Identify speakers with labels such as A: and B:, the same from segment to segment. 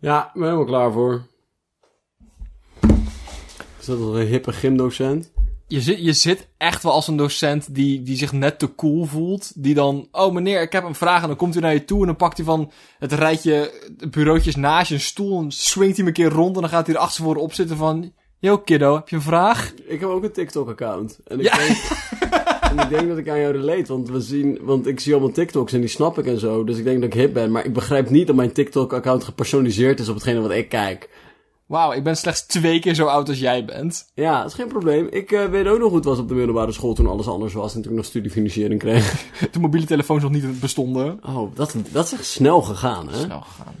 A: Ja, ik ben helemaal klaar voor. Is dat al een hippe gymdocent?
B: Je zit, je zit echt wel als een docent die, die zich net te cool voelt. Die dan, oh meneer, ik heb een vraag. En dan komt hij naar je toe en dan pakt hij van het rijtje bureautjes naast je een stoel. En swingt hij hem een keer rond en dan gaat hij er achtervoor op zitten van... Yo kiddo, heb je een vraag?
A: Ik heb ook een TikTok-account. En, ik
B: Ja.
A: denk- en ik denk dat ik aan jou relate, want, we zien, want ik zie allemaal TikToks en die snap ik en zo. Dus ik denk dat ik hip ben, maar ik begrijp niet dat mijn TikTok-account gepersonaliseerd is op hetgene wat ik kijk.
B: Wauw, ik ben slechts twee keer zo oud als jij bent.
A: Ja, dat is geen probleem. Ik eh, weet ook nog hoe het was op de middelbare school toen alles anders was en toen ik nog studiefinanciering kreeg.
B: Toen mobiele telefoons nog niet bestonden.
A: Oh, dat, dat is echt snel gegaan, hè?
B: Snel gegaan.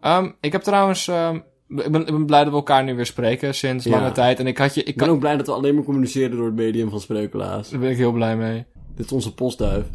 B: Ehm, ik heb trouwens... ehm, ik, ben, ik ben blij dat we elkaar nu weer spreken sinds
A: Ja.
B: lange tijd. En ik had je... Ik
A: Ik ben
B: kan,
A: ook blij dat we alleen maar communiceren door het medium van spreukelaars.
B: daar ben ik heel blij mee.
A: Dit is onze postduif.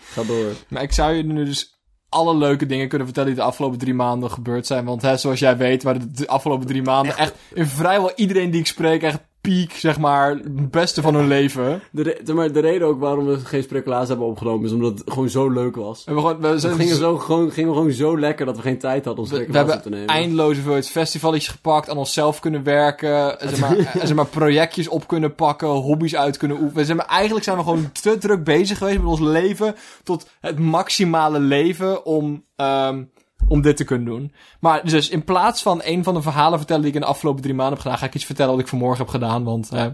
A: Ga door.
B: Maar ik zou je nu dus alle leuke dingen kunnen vertellen die de afgelopen drie maanden gebeurd zijn. Want hè, zoals jij weet, waren de afgelopen drie maanden echt in vrijwel iedereen die ik spreek echt piek, zeg maar, het beste van hun leven.
A: De, re- zeg maar de reden ook waarom we geen spreukelaars hebben opgenomen is omdat het gewoon zo leuk was.
B: En we, gewoon, we,
A: Het
B: zijn,
A: ging, zo, gewoon, ging gewoon zo lekker dat we geen tijd hadden om
B: we, we
A: spreukelaars op te
B: hebben
A: nemen.
B: eindeloze hoeveelheid festivalletjes gepakt, aan onszelf kunnen werken, eh, zeg maar, eh, zeg maar, projectjes op kunnen pakken, hobby's uit kunnen oefenen. Zeg maar, eigenlijk zijn we gewoon te druk bezig geweest met ons leven tot het maximale leven om... ehm, om dit te kunnen doen. Maar dus in plaats van een van de verhalen vertellen die ik in de afgelopen drie maanden heb gedaan, ga ik iets vertellen wat ik vanmorgen heb gedaan. Want eh,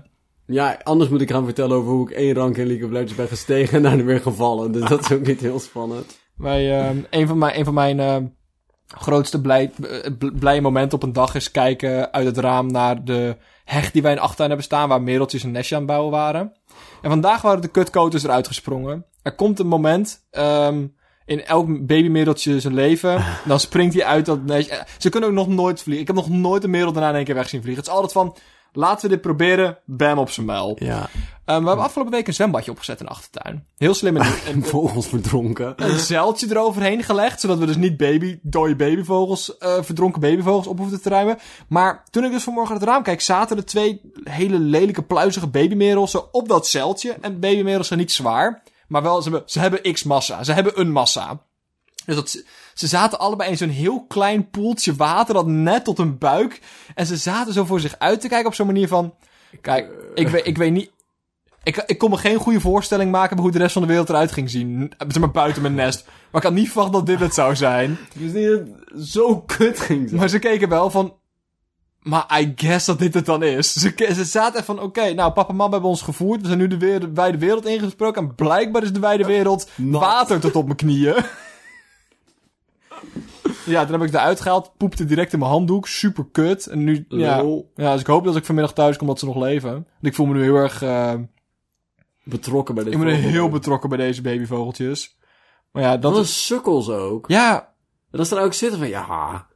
A: Ja, anders moet ik gaan vertellen over hoe ik één rank in League of Legends ben gestegen en daarna weer gevallen. Dus dat is ook niet heel spannend.
B: wij, ehm, een van mijn, een van mijn ehm, grootste blij, eh, bl- blije momenten op een dag is kijken uit het raam naar de heg die wij in de achtertuin hebben staan, waar mereltjes en nestje aan het bouwen waren. En vandaag waren de kutkoters eruit gesprongen. Er komt een moment ehm, in elk babymereltje zijn leven, dan springt hij uit dat nestje. Eh, Ze kunnen ook nog nooit vliegen. Ik heb nog nooit een merel daarna in één keer weg zien vliegen. Het is altijd van, laten we dit proberen, bam op zijn muil.
A: Ja,
B: Ehm, we hebben afgelopen week een zwembadje opgezet in de achtertuin. Heel slim. En, en-
A: vogels verdronken.
B: een zeiltje eroverheen gelegd, zodat we dus niet baby, dode babyvogels, eh, verdronken babyvogels op hoefden te ruimen. Maar toen ik dus vanmorgen uit het raam kijk, zaten er twee hele lelijke, pluizige babymerels zo op dat zeiltje. En babymerels zijn niet zwaar, maar wel, ze hebben, ze hebben x massa. Ze hebben een massa. Dus dat, ze- ze zaten allebei in zo'n heel klein poeltje water dat net tot hun buik. En ze zaten zo voor zich uit te kijken op zo'n manier van... Kijk, ik weet, ik weet niet... Ik, ik kon me geen goede voorstelling maken bij hoe de rest van de wereld eruit ging zien. Eh, Zeg maar buiten mijn nest. Maar ik had niet verwacht dat dit het zou zijn.
A: Dus niet dat het zo kut ging zijn.
B: Maar ze keken wel van... Maar I guess dat dit het dan is. Ze, ke- ze zaten echt van, oké, nou, papa en mama hebben ons gevoerd. We zijn nu de weer- wijde wereld ingesproken. En blijkbaar is de wijde wereld
A: Nat.
B: water tot op mijn knieën. ja, toen heb ik het eruit gehaald. Poepte direct in mijn handdoek. Super kut. En nu, ja.
A: Lol.
B: ja. Dus ik hoop dat ik vanmiddag thuis kom dat ze nog leven. Want ik voel me nu heel erg... eh,
A: Betrokken bij dit
B: ik ben
A: voorbeeld.
B: heel betrokken bij deze babyvogeltjes. Maar ja, dat
A: Wat een
B: is...
A: sukkels ook.
B: Ja,
A: En als ze daar ook zitten van, ja,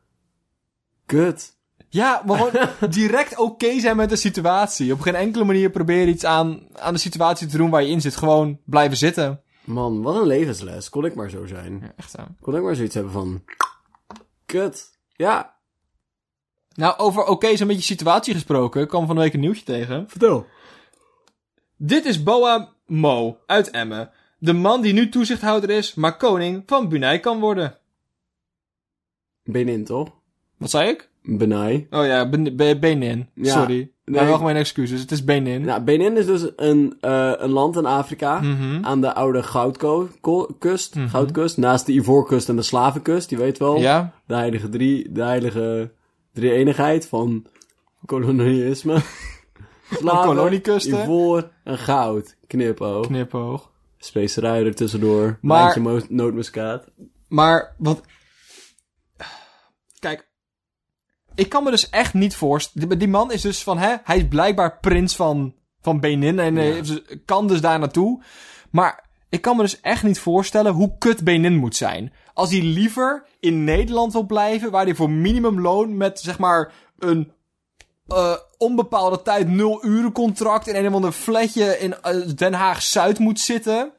A: kut.
B: Ja, maar gewoon direct oké zijn met de situatie. Op geen enkele manier proberen iets aan, aan de situatie te doen waar je in zit. Gewoon blijven zitten.
A: Man, wat een levensles. Kon ik maar zo zijn.
B: echt zo.
A: Kon ik maar zoiets hebben van, kut. Ja,
B: Nou, over oké zijn met je situatie gesproken. Ik kwam van de week een nieuwtje tegen.
A: vertel.
B: Dit is Boa Mo uit Emmen. De man die nu toezichthouder is, maar koning van Brunei kan worden.
A: Benin, toch?
B: Wat zei ik?
A: Benai.
B: Oh ja, Ben- Be- Benin.
A: Ja,
B: Sorry.
A: nee.
B: Nee, wel mijn excuses. Het is Benin.
A: Nou, Benin is dus een, eh, een land in Afrika.
B: Mhm.
A: Aan de oude goudkust, goudkust, naast de Ivoorkust en de Slavenkust, die weet wel.
B: Ja?
A: De heilige drie, de heilige drie-eenigheid van kolonialisme. Slaven,
B: koloniekusten.
A: Ivoor en goud, knipoog.
B: Knipoog.
A: Specerij er tussendoor.
B: Maar-
A: Lijntje mo- nootmuskaat.
B: Maar wat. Kijk. Ik kan me dus echt niet voorstellen. Die, die man is dus van, hè? Hij is blijkbaar prins van, van Benin. En eh, heeft dus- kan dus daar naartoe. Maar ik kan me dus echt niet voorstellen hoe kut Benin moet zijn. Als hij liever in Nederland wil blijven, waar hij voor minimumloon met zeg maar een eh, onbepaalde tijd nul uren contract in een of ander flatje in eh, Den Haag Zuid moet zitten.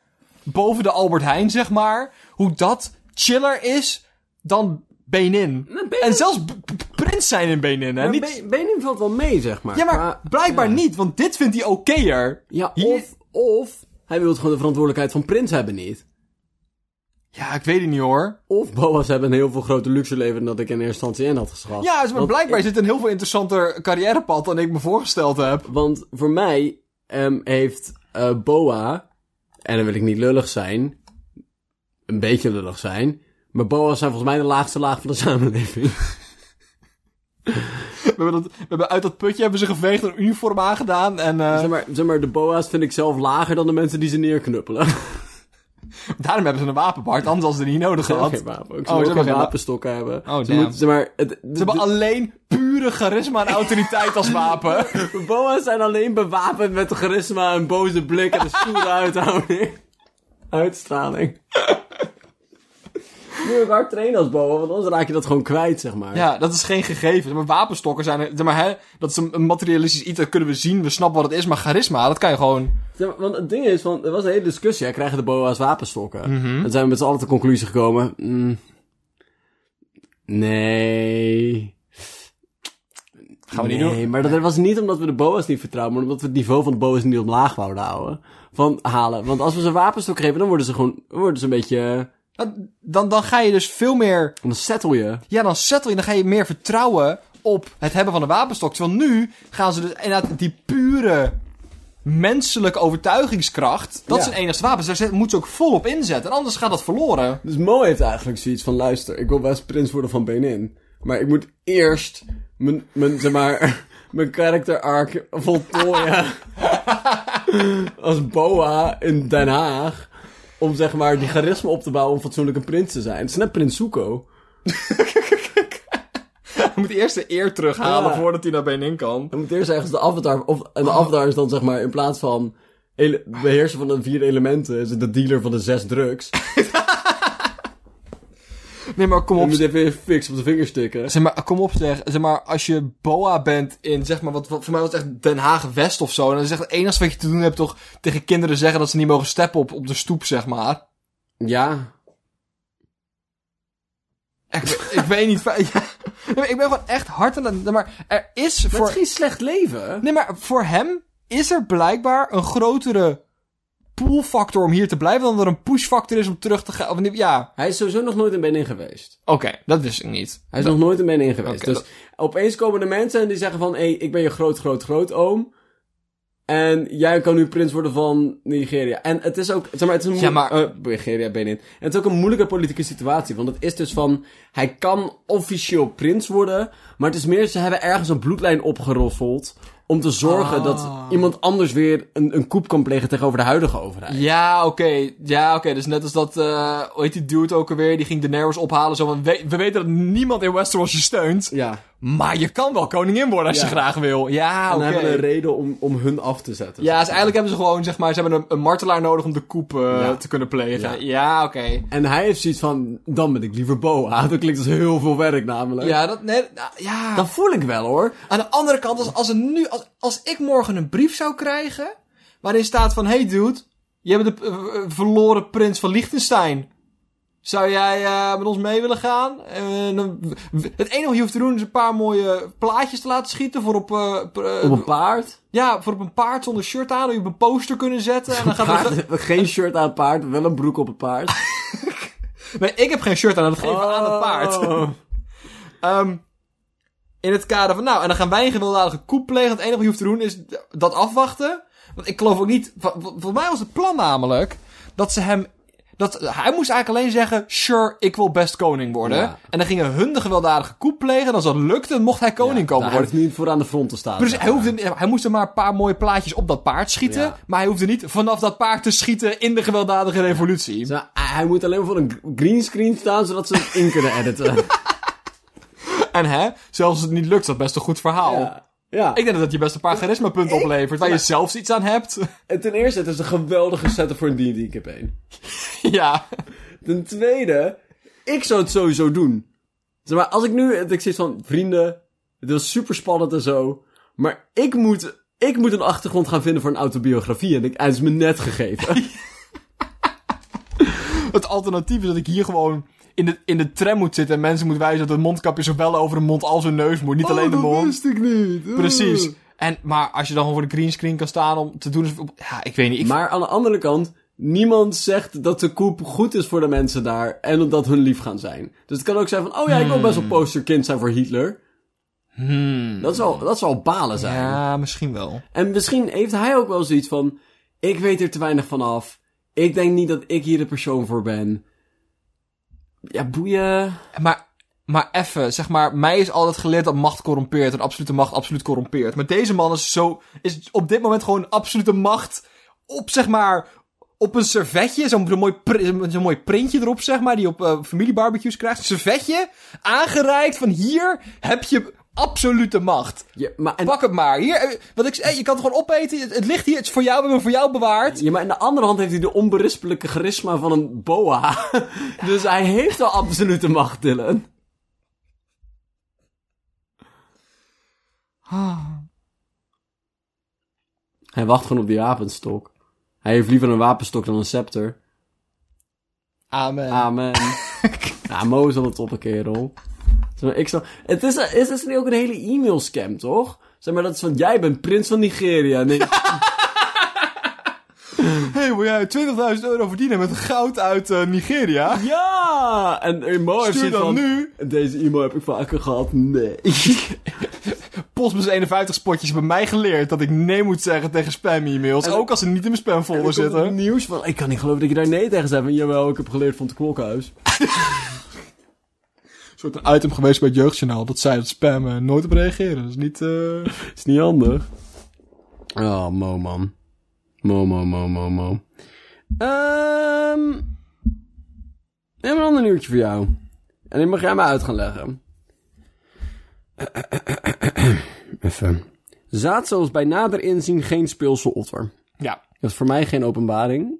B: Boven de Albert Heijn, zeg maar. Hoe dat chiller is dan Benin. En zelfs b- b- prins zijn in Benin, hè?
A: Maar
B: Niet-
A: Be- Benin valt wel mee, zeg maar.
B: ja, maar blijkbaar niet, want dit vindt hij okéer.
A: Ja,
B: Hier-
A: of, of hij wil gewoon de verantwoordelijkheid van prins hebben niet.
B: Ja, ik weet het niet hoor.
A: Of boa's hebben een heel veel groter luxe leven dan dat ik in eerste instantie in had geschat.
B: Ja, dus maar
A: Want
B: blijkbaar zit een heel veel interessanter carrièrepad dan ik me voorgesteld heb.
A: Want voor mij ehm, heeft eh, Boa, en dan wil ik niet lullig zijn, een beetje lullig zijn, maar Boa's zijn volgens mij de laagste laag van de samenleving.
B: We hebben, dat, we hebben uit dat putje hebben ze geveegd een uniform aangedaan. En eh,
A: zeg, maar, zeg maar, de Boa's vind ik zelf lager dan de mensen die ze neerknuppelen.
B: daarom hebben ze een wapenbart, anders hadden ze die niet nodig
A: Ze hebben geen
B: gehad. Ze
A: wapen. Ze
B: hebben
A: mogen
B: Oh, geen
A: geen
B: wa-
A: wapenstokken hebben.
B: Oh,
A: ze
B: damn.
A: moeten- zeg maar, het, de,
B: hebben
A: de-
B: alleen pure charisma en autoriteit als wapen.
A: de Boa's zijn alleen bewapend met charisma, een boze blik en een stoere uithouding. Uitstraling. Je moet ook hard trainen als Boa, want anders raak je dat gewoon kwijt, zeg maar.
B: Ja, dat is geen gegeven. Maar wapenstokken zijn... er- zeg Maar, hè, dat is een een materialistisch iets, dat kunnen we zien. We snappen wat het is. Maar charisma, dat kan je gewoon...
A: Ja, maar- want het ding is, van, er was een hele discussie. Ja, krijgen de boa's wapenstokken?
B: Mhm.
A: En toen zijn we met z'n allen tot de conclusie gekomen. mm, nee.
B: Gaan we
A: nee,
B: niet doen.
A: maar dat was niet omdat we de boa's niet vertrouwen, maar omdat we het niveau van de boa's niet omlaag wouden houden. Van halen. Want als we ze een wapenstok geven, dan worden ze gewoon, worden ze een beetje,
B: Dan- Dan, dan ga je dus veel meer...
A: dan settle je.
B: Ja, dan settle je. Dan ga je meer vertrouwen op het hebben van een wapenstok. Terwijl nu gaan ze dus inderdaad die pure menselijke overtuigingskracht... Dat
A: Ja.
B: zijn enigste wapens. Daar zet- moeten ze ook volop inzetten. En anders gaat dat verloren.
A: Dus Mo heeft eigenlijk zoiets van, luister, ik wil best prins worden van Benin. Maar ik moet eerst mijn, mijn zeg maar, mijn character arc voltooien. als boa in Den Haag. Om zeg maar die charisma op te bouwen om fatsoenlijk een prins te zijn. Het is net prins Zuko.
B: Hij moet eerst de eer terughalen
A: Ja.
B: voordat hij naar Benin kan.
A: Dan moet eerst ergens de avatar, of en de avatar is dan zeg maar in plaats van ele- beheerser van de vier elementen, is het de dealer van de zes drugs.
B: Nee, maar kom
A: Je
B: op.
A: moet even fix op de vingers tikken.
B: Zeg maar, kom op zeg. Zeg maar, als je boa bent in, zeg maar, wat, wat voor mij was het echt Den Haag-West of zo. En dan is echt het enige wat je te doen hebt toch tegen kinderen zeggen dat ze niet mogen steppen op, op de stoep, zeg maar.
A: Ja,
B: Ik, weet- ik weet niet. van- Ja. Nee, maar ik ben gewoon echt hard aan het... Maar er is
A: dat is
B: voor...
A: geen slecht leven.
B: Nee, maar voor hem is er blijkbaar een grotere pull-factor om hier te blijven dan er een push-factor is om terug te gaan. Of niet- Ja,
A: Hij is sowieso nog nooit in Benin geweest.
B: oké, dat wist ik niet.
A: Hij is nog nooit een man in geweest.
B: Nou, Oké,
A: dus opeens komen er mensen en die zeggen van... Hé, ik ben je groot, groot, groot oom. En jij kan nu prins worden van Nigeria. En het is ook... Zeg maar, het is een
B: Ja,
A: moe- eh, Nigeria, Benin. En het is ook een moeilijke politieke situatie. Want het is dus van... Hij kan officieel prins worden. Maar het is meer... Ze hebben ergens een bloedlijn opgeroffeld... Om te zorgen
B: Ah.
A: dat iemand anders weer een, een koep kan plegen tegenover de huidige overheid.
B: Ja, oké. Ja, oké. Dus net als dat, eh hoe heet die dude ook alweer? Die ging Daenerys ophalen. Zo van, we, we weten dat niemand in Westeros je steunt.
A: Ja. En
B: Maar je kan wel koningin worden als
A: Ja.
B: je graag wil. Ja,
A: dan
B: oké.
A: hebben we een reden om, om hun af te zetten.
B: Ja, dus eigenlijk hebben ze gewoon, zeg maar, ze hebben een, een martelaar nodig om de koep eh,
A: Ja.
B: te kunnen plegen. Ja,
A: Ja.
B: oké.
A: En hij heeft zoiets van, dan ben ik liever boa. Dat klinkt als heel veel werk namelijk.
B: Ja, dat, nee, nou, ja.
A: Dat voel ik wel hoor.
B: Aan de andere kant, als, als, er nu, als, als ik morgen een brief zou krijgen. waarin staat van: hey dude, je bent de eh, eh, verloren prins van Liechtenstein. Zou jij eh, met ons mee willen gaan? En dan- het enige wat je hoeft te doen is een paar mooie plaatjes te laten schieten. Voor op, eh, p- eh,
A: Op een paard.
B: ja, voor op een paard zonder shirt aan. Of je op een poster kunnen zetten. En dan gaat het,
A: Paard- Geen shirt aan paard, wel een broek op een paard.
B: nee, ik heb geen shirt aan, dat geven we aan het paard.
A: Oh.
B: Ehm, in het kader van, nou, en dan gaan wij een gewelddadige koep plegen. Het enige wat je hoeft te doen is dat afwachten. Want ik geloof ook niet... wa- wa- Voor mij was het plan namelijk dat ze hem... Dat, hij moest eigenlijk alleen zeggen, sure, ik wil best koning worden.
A: Ja.
B: En dan gingen hun de gewelddadige koep plegen. En als dat lukte, mocht hij koning
A: Ja, nou,
B: komen
A: Hij
B: worden.
A: hoeft niet voor aan de front te staan.
B: Dus hij, hoefde, hij moest er maar een paar mooie plaatjes op dat paard schieten.
A: Ja.
B: Maar hij hoefde niet vanaf dat paard te schieten in de gewelddadige revolutie.
A: Zo, Hij moet alleen maar voor een gr- greenscreen staan, zodat ze het in kunnen editen.
B: En hè, zelfs als het niet lukt, is dat best een goed verhaal.
A: Ja. ja.
B: Ik denk dat dat je best een paar charismapunten oplevert. Waar je zelfs iets aan hebt.
A: En ten eerste, het is een geweldige setup voor een D&D campaign.
B: ja.
A: Ten tweede, ik zou het sowieso doen. Zeg maar, als ik nu, ik zit van, vrienden, het was super spannend en zo, maar ik moet, ik moet een achtergrond gaan vinden voor een autobiografie en ik, hij is me net gegeven.
B: Het alternatief is dat ik hier gewoon in de, in de tram moet zitten en mensen moet wijzen dat het mondkapje zowel over de mond als de neus moet. Niet
A: Oh,
B: alleen de mond.
A: ik niet. Oh.
B: Precies. En, maar als je dan gewoon voor de greenscreen kan staan om te doen. alsof- Ja, ik weet niet. Ik,
A: Maar aan de andere kant, niemand zegt dat de koep goed is voor de mensen daar en dat hun lief gaan zijn. Dus het kan ook zijn van, oh ja, ik wil best wel posterkind zijn voor Hitler.
B: Hmm.
A: Dat zal, dat zal balen zijn.
B: Ja, misschien wel.
A: En misschien heeft hij ook wel zoiets van, ik weet er te weinig van af. Ik denk niet dat ik hier de persoon voor ben. Ja, boeien.
B: Maar, maar even, zeg maar, mij is altijd geleerd dat macht corrompeert. En absolute macht absoluut corrompeert. Maar deze man is zo, is op dit moment gewoon absolute macht op, zeg maar, op een servetje. Zo'n zo'n mooi, pri- zo'n- zo'n mooi printje erop, zeg maar, die je op eh, familiebarbecues krijgt. Een servetje, aangereikt van hier heb je absolute macht.
A: Ja, maar, en,
B: Pak het maar. Hier, eh, wat ik, eh, je kan het gewoon opeten. Het, het ligt hier, het is voor jou, we hebben het voor jou bewaard.
A: ja, maar aan de andere hand heeft hij de onberispelijke charisma van een boa. dus hij heeft wel absolute macht, Dylan. Hij wacht gewoon op die wapenstok. Hij heeft liever een wapenstok dan een scepter.
B: Amen.
A: Amen. ja, Mo zal het op een kerel. Zeg maar, Ik snap... Het is, is, is nu ook een hele e-mail scam, toch? Zeg maar, dat is van, jij bent prins van Nigeria. Nee,
B: hey, wil jij 20.000 euro verdienen met goud uit eh, Nigeria?
A: ja! En eh, Mo heeft
B: Stuur
A: zoiets
B: dan
A: van,
B: nu
A: Deze e-mail heb ik vaker gehad. Nee.
B: Postbus 51 spotjes bij mij geleerd dat ik nee moet zeggen tegen spam e-mails.
A: En-
B: Ook als ze niet in mijn spamfolder
A: Er komt
B: zitten.
A: het nieuws van, ik kan niet geloven dat je daar nee tegen zei. Van, jawel, ik heb geleerd van het klokhuis.
B: Een soort een item geweest bij het jeugdjournaal dat zij dat spam eh, nooit op reageren. Dat is niet... eh,
A: Is niet handig. Oh, Mo, man. Mo, Mo, Mo, Mo, Mo. Ehm. We hebben een ander nieuwtje voor jou. En die mag jij maar uit gaan leggen. Even. Zaadcel is bij nader inzien geen speelselopfer.
B: Ja.
A: Dat is voor mij geen openbaring.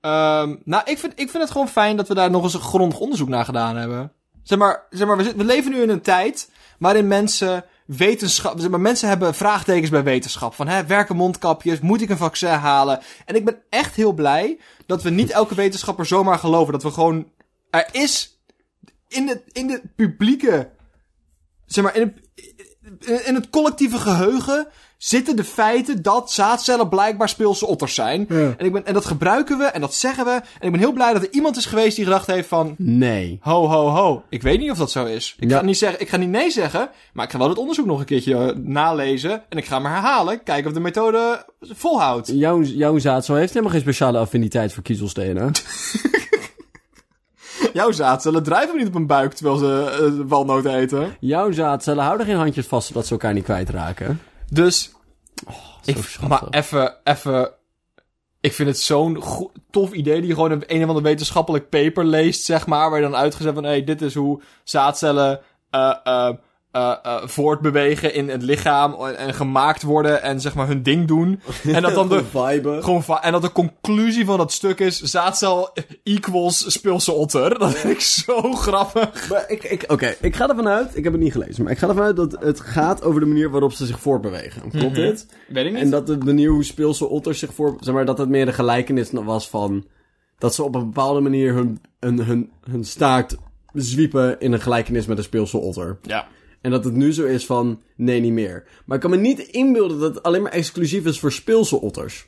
B: Ehm, nou, ik vind, ik vind het gewoon fijn dat we daar nog eens een grondig onderzoek naar gedaan hebben. Zeg maar, zeg maar we, zit- we leven nu in een tijd waarin mensen wetenschap... Zeg maar, mensen hebben vraagtekens bij wetenschap. Van, hè, werken mondkapjes? Moet ik een vaccin halen? En ik ben echt heel blij dat we niet elke wetenschapper zomaar geloven. Dat we gewoon... Er is in het, in het publieke... Zeg maar, in het, in- in het collectieve geheugen zitten de feiten dat zaadcellen blijkbaar speelse otters zijn. En, ik ben, en dat gebruiken we en dat zeggen we. En ik ben heel blij dat er iemand is geweest die gedacht heeft van...
A: Nee.
B: Ho, ho, ho. Ik weet niet of dat zo is. Ik,
A: Ja.
B: ga, niet zeggen, ik ga niet nee zeggen, maar ik ga wel het onderzoek nog een keertje eh, nalezen. En ik ga hem herhalen, kijken of de methode volhoudt.
A: Jouw, jouw zaadcel heeft helemaal geen speciale affiniteit voor kiezelstenen.
B: Jouw zaadcellen drijven niet op een buik terwijl ze eh, walnoten eten.
A: jouw zaadcellen houden geen handjes vast zodat ze elkaar niet kwijtraken.
B: Dus Ik- maar
A: schattig.
B: even, even. Ik vind het zo'n go- tof idee die je gewoon een, een of ander wetenschappelijk paper leest, zeg maar. Waar je dan uitgezet van: hé, hey, dit is hoe zaadcellen eh, eh, eh, eh, voortbewegen in het lichaam. En, en gemaakt worden en zeg maar hun ding doen. En dat dan de.
A: vibe.
B: Gewoon va- en dat de conclusie van dat stuk is: zaadcel equals speelse otter. Dat vind ik zo grappig.
A: Maar ik, ik, Oké, ik ga ervan uit, ik heb het niet gelezen, maar ik ga ervan uit dat het gaat over de manier waarop ze zich voortbewegen. Klopt dit?
B: Weet ik
A: En dat de manier hoe speelse otters zich voor... Zeg maar, dat het meer de gelijkenis was van... Dat ze op een bepaalde manier hun, hun, hun, hun staart zwiepen in een gelijkenis met een speelse otter.
B: Ja.
A: En dat het nu zo is van, nee, niet meer. Maar ik kan me niet inbeelden dat het alleen maar exclusief is voor speelse otters.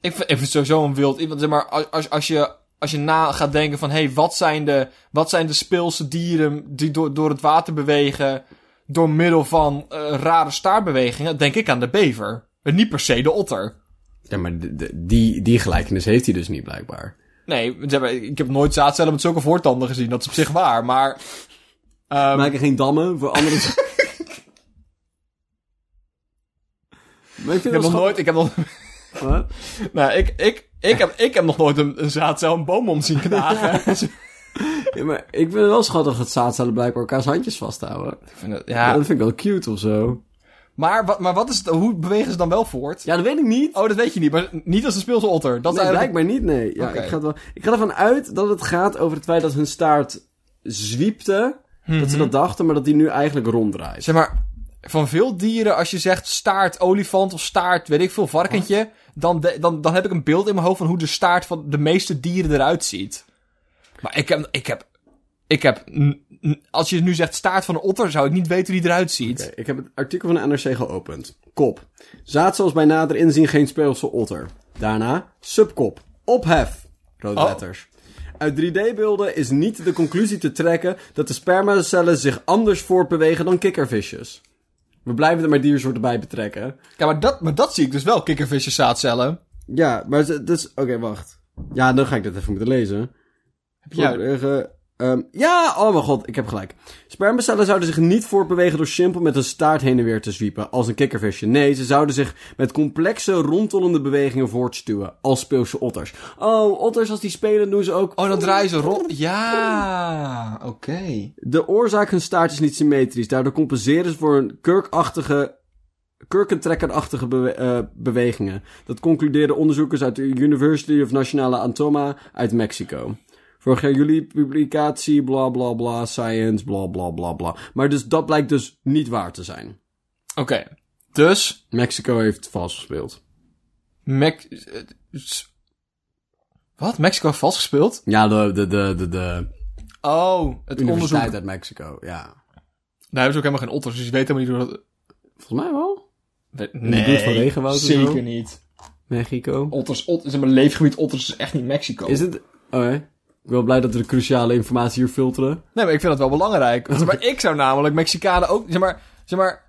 B: Ik vind, ik vind het sowieso een wild iemand. Zeg maar, als, als, als, je, als je na gaat denken van... Hé, hey, wat, zijn de- wat zijn de speelse dieren die door, door het water bewegen... door middel van eh, rare staartbewegingen? Denk ik aan de bever. En niet per se de otter.
A: Ja, maar de- de- die, die gelijkenis heeft hij dus niet, blijkbaar.
B: Nee, zeg maar, ik heb nooit zaadcellen met zulke voortanden gezien. Dat is op zich waar, maar... ehm,
A: Maken geen dammen voor andere... maar ik
B: ik
A: vind
B: heb
A: het
B: nog
A: wel
B: nooit... Ik heb nog,
A: schattig, hè?
B: nou, ik, ik, ik, heb, ik heb nog nooit een, een zaadcel een boom om zien knagen.
A: Ja, maar ik vind het wel schattig dat zaadcellen blijkbaar elkaars handjes vasthouden.
B: Ik vind het-
A: Ja,
B: ja.
A: dat vind ik wel cute of zo.
B: Maar, wat- maar wat is het, hoe bewegen ze dan wel voort?
A: Ja, dat weet ik niet.
B: Oh, dat weet je niet, maar niet als een speelse otter. Dat is
A: Nee,
B: eigenlijk
A: blijkbaar niet, nee. Ja,
B: Oké.
A: ik, ga het wel... ik ga ervan uit dat het gaat over het feit dat hun staart zwiepte.
B: Mhm.
A: Dat ze dat dachten, maar dat die nu eigenlijk ronddraait.
B: Zeg maar, van veel dieren, als je zegt staart olifant of staart, weet ik veel, varkentje, dan, de- dan, dan heb ik een beeld in mijn hoofd van hoe de staart van de meeste dieren eruit ziet. Maar ik heb, ik heb, ik heb, n- n- als je nu zegt staart van een otter, zou ik niet weten hoe die eruit ziet.
A: Oké, ik heb het artikel van de NRC geopend. Kop. Zaadcel is bij nader inzien geen speelse otter. Daarna subkop. Ophef. Rode
B: Oh.
A: letters. Uit 3D-beelden is niet de conclusie te trekken dat de spermacellen zich anders voortbewegen dan kikkervisjes. We blijven er maar diersoorten bij betrekken.
B: Ja, maar dat, maar dat zie ik dus wel, kikkervisjes zaadcellen.
A: Ja, maar ze- dus... Oké, wacht. Ja, dan ga ik dit even moeten lezen.
B: Ja.
A: Voortbewegen, ehm, ja, oh mijn god, ik heb gelijk. Spermacellen zouden zich niet voortbewegen door simpel met een staart heen en weer te zwiepen, als een kikkervisje. Nee, ze zouden zich met complexe, rondtollende bewegingen voortstuwen, als speelse otters. Oh, otters, als die spelen, doen ze ook...
B: Oh, dan draaien ze rond. Ja, oké.
A: De oorzaak hun staart is niet symmetrisch. Daardoor compenseren ze voor hun kurkachtige, kurkentrekkerachtige bewe- eh, bewegingen. Dat concludeerden onderzoekers uit de University of Nationale Antoma uit Mexico. Vorig jaar juli publicatie, bla bla bla, science, bla bla bla bla. Maar dus dat blijkt dus niet waar te zijn.
B: Oké, dus...
A: Mexico heeft vals gespeeld.
B: Mac... eh, s- Wat? Mexico heeft vastgespeeld?
A: Ja, de, de, de, de, de
B: Oh, het onderzoek.
A: universiteit
B: Daar
A: uit Mexico, ja.
B: hebben ze ook helemaal geen otters, dus je weet helemaal niet hoe dat...
A: Volgens mij wel.
B: We-
A: de buurt van regenwoud en
B: zeker
A: zo?
B: niet.
A: Mexico.
B: Otters, otters, zeg maar, leefgebied otters is echt niet Mexico.
A: Is het... Oké. Ik ben wel blij dat we de cruciale informatie hier filteren.
B: Nee, maar ik vind dat wel belangrijk. Want, zeg maar, ik zou namelijk Mexicanen ook... Zeg maar, zeg maar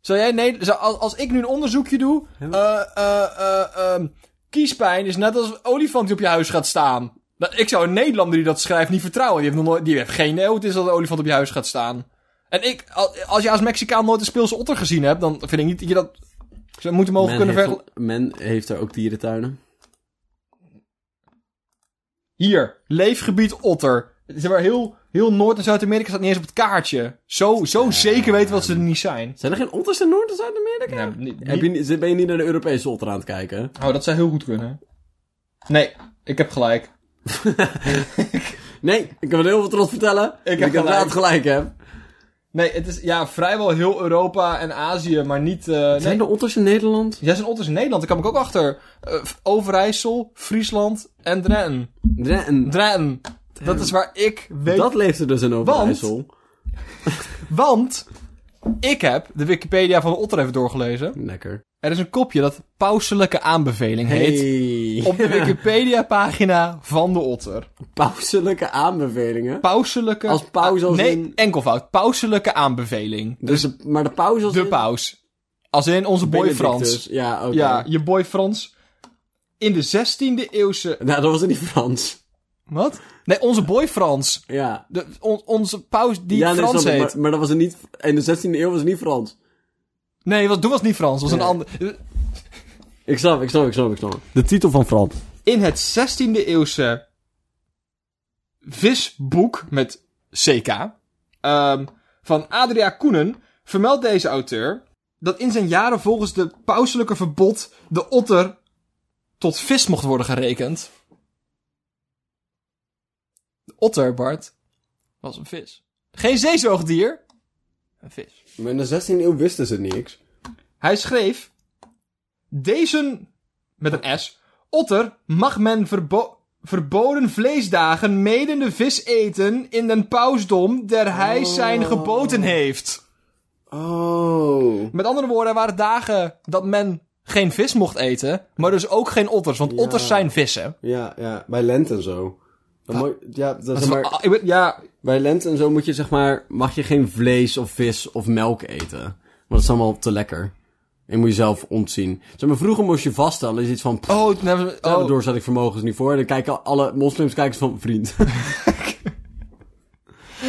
B: zou jij... Nee, zou- als, als ik nu een onderzoekje doe... eh, eh, eh, ehm, kiespijn is net als een olifant die op je huis gaat staan. Dat, ik zou een Nederlander die dat schrijft niet vertrouwen. Die heeft, nog nooit, die heeft geen idee hoe het is dat een olifant op je huis gaat staan. En ik... al- Als je als Mexicaan nooit een speelse otter gezien hebt... Dan vind ik niet dat je dat... Ze moeten mogen kunnen
A: heeft,
B: vergelijken.
A: men heeft daar ook dierentuinen.
B: Hier, leefgebied otter. Zeg maar, heel, heel Noord- en Zuid-Amerika staat niet eens op het kaartje. Zo, zo zeker weten wat ze er niet zijn.
A: Zijn er geen otters in Noord- en Zuid-Amerika?
B: Nou, niet-
A: Heb je, niet- zit- ben je niet naar de Europese otter aan het kijken?
B: Oh, dat zou heel goed kunnen. Nee, ik heb gelijk.
A: Nee, ik kan met heel veel trots vertellen. dat Ik
B: heb
A: ik inderdaad gelijk heb.
B: Nee, het is ja, vrijwel heel Europa en Azië, maar niet... eh nee.
A: er otters in Nederland?
B: Jij zijn otters in Nederland, daar kwam ik ook achter. Eh, Overijssel, Friesland en Drenthe.
A: Ja, en
B: Drenthe. Dat is waar ik weet...
A: dat leeft er dus in Overijssel.
B: Want ik heb de Wikipedia van de otter even doorgelezen.
A: Lekker.
B: Er is een kopje dat pauselijke aanbeveling heet. Op de Wikipedia-pagina van de otter.
A: Pauselijke aanbevelingen.
B: Pauselijke...
A: Als paus, als
B: nee,
A: in-
B: enkelvoud. Pauselijke aanbeveling.
A: Dus, de- maar de paus als
B: De
A: in-
B: paus. Als in onze boy
A: Benedictus.
B: Frans.
A: Ja, oké.
B: Ja, je boy Frans. In de 16e eeuwse...
A: Nou, dat was in die Frans.
B: Wat? Nee, onze boy Frans.
A: Ja.
B: De, on- onze paus die
A: ja, nee,
B: Frans
A: snap ik,
B: heet.
A: Maar, maar dat was in niet... In de 16e eeuw was het niet Frans.
B: Nee, was, toen was het niet Frans. was een
A: Nee.
B: ander...
A: Ik snap, ik snap, ik snap, ik snap. De titel van Frans.
B: In het 16e eeuwse visboek met CK ehm, van Adria Koenen vermeldt deze auteur dat in zijn jaren volgens de pauselijke verbod de otter tot vis mocht worden gerekend. De otter, Bart, was een vis. Geen zeezoogdier, een vis.
A: Maar in de 16e eeuw wisten ze niks.
B: Hij schreef: Deze, met een S, otter mag men verbo- verboden vleesdagen meden de vis eten in den pausdom der hij zijn geboten heeft.
A: Oh.
B: Met andere woorden, er waren dagen dat men geen vis mocht eten, maar dus ook geen otters, want otters zijn vissen.
A: Ja, ja. Bij lent en zo. Dan moet- ja, Ah. dat zeg maar,
B: Ah, ik weet- ja,
A: bij lent en zo moet je zeg maar... Mag je geen vlees of vis of melk eten. Want dat is allemaal te lekker. En moet je zelf ontzien. Zeg maar, vroeger moest je vaststellen. Is iets van... Pff,
B: oh, nee,
A: oh.
B: oh,
A: doorzetting vermogens niet voor. En dan kijken alle moslims kijken van... Vriend.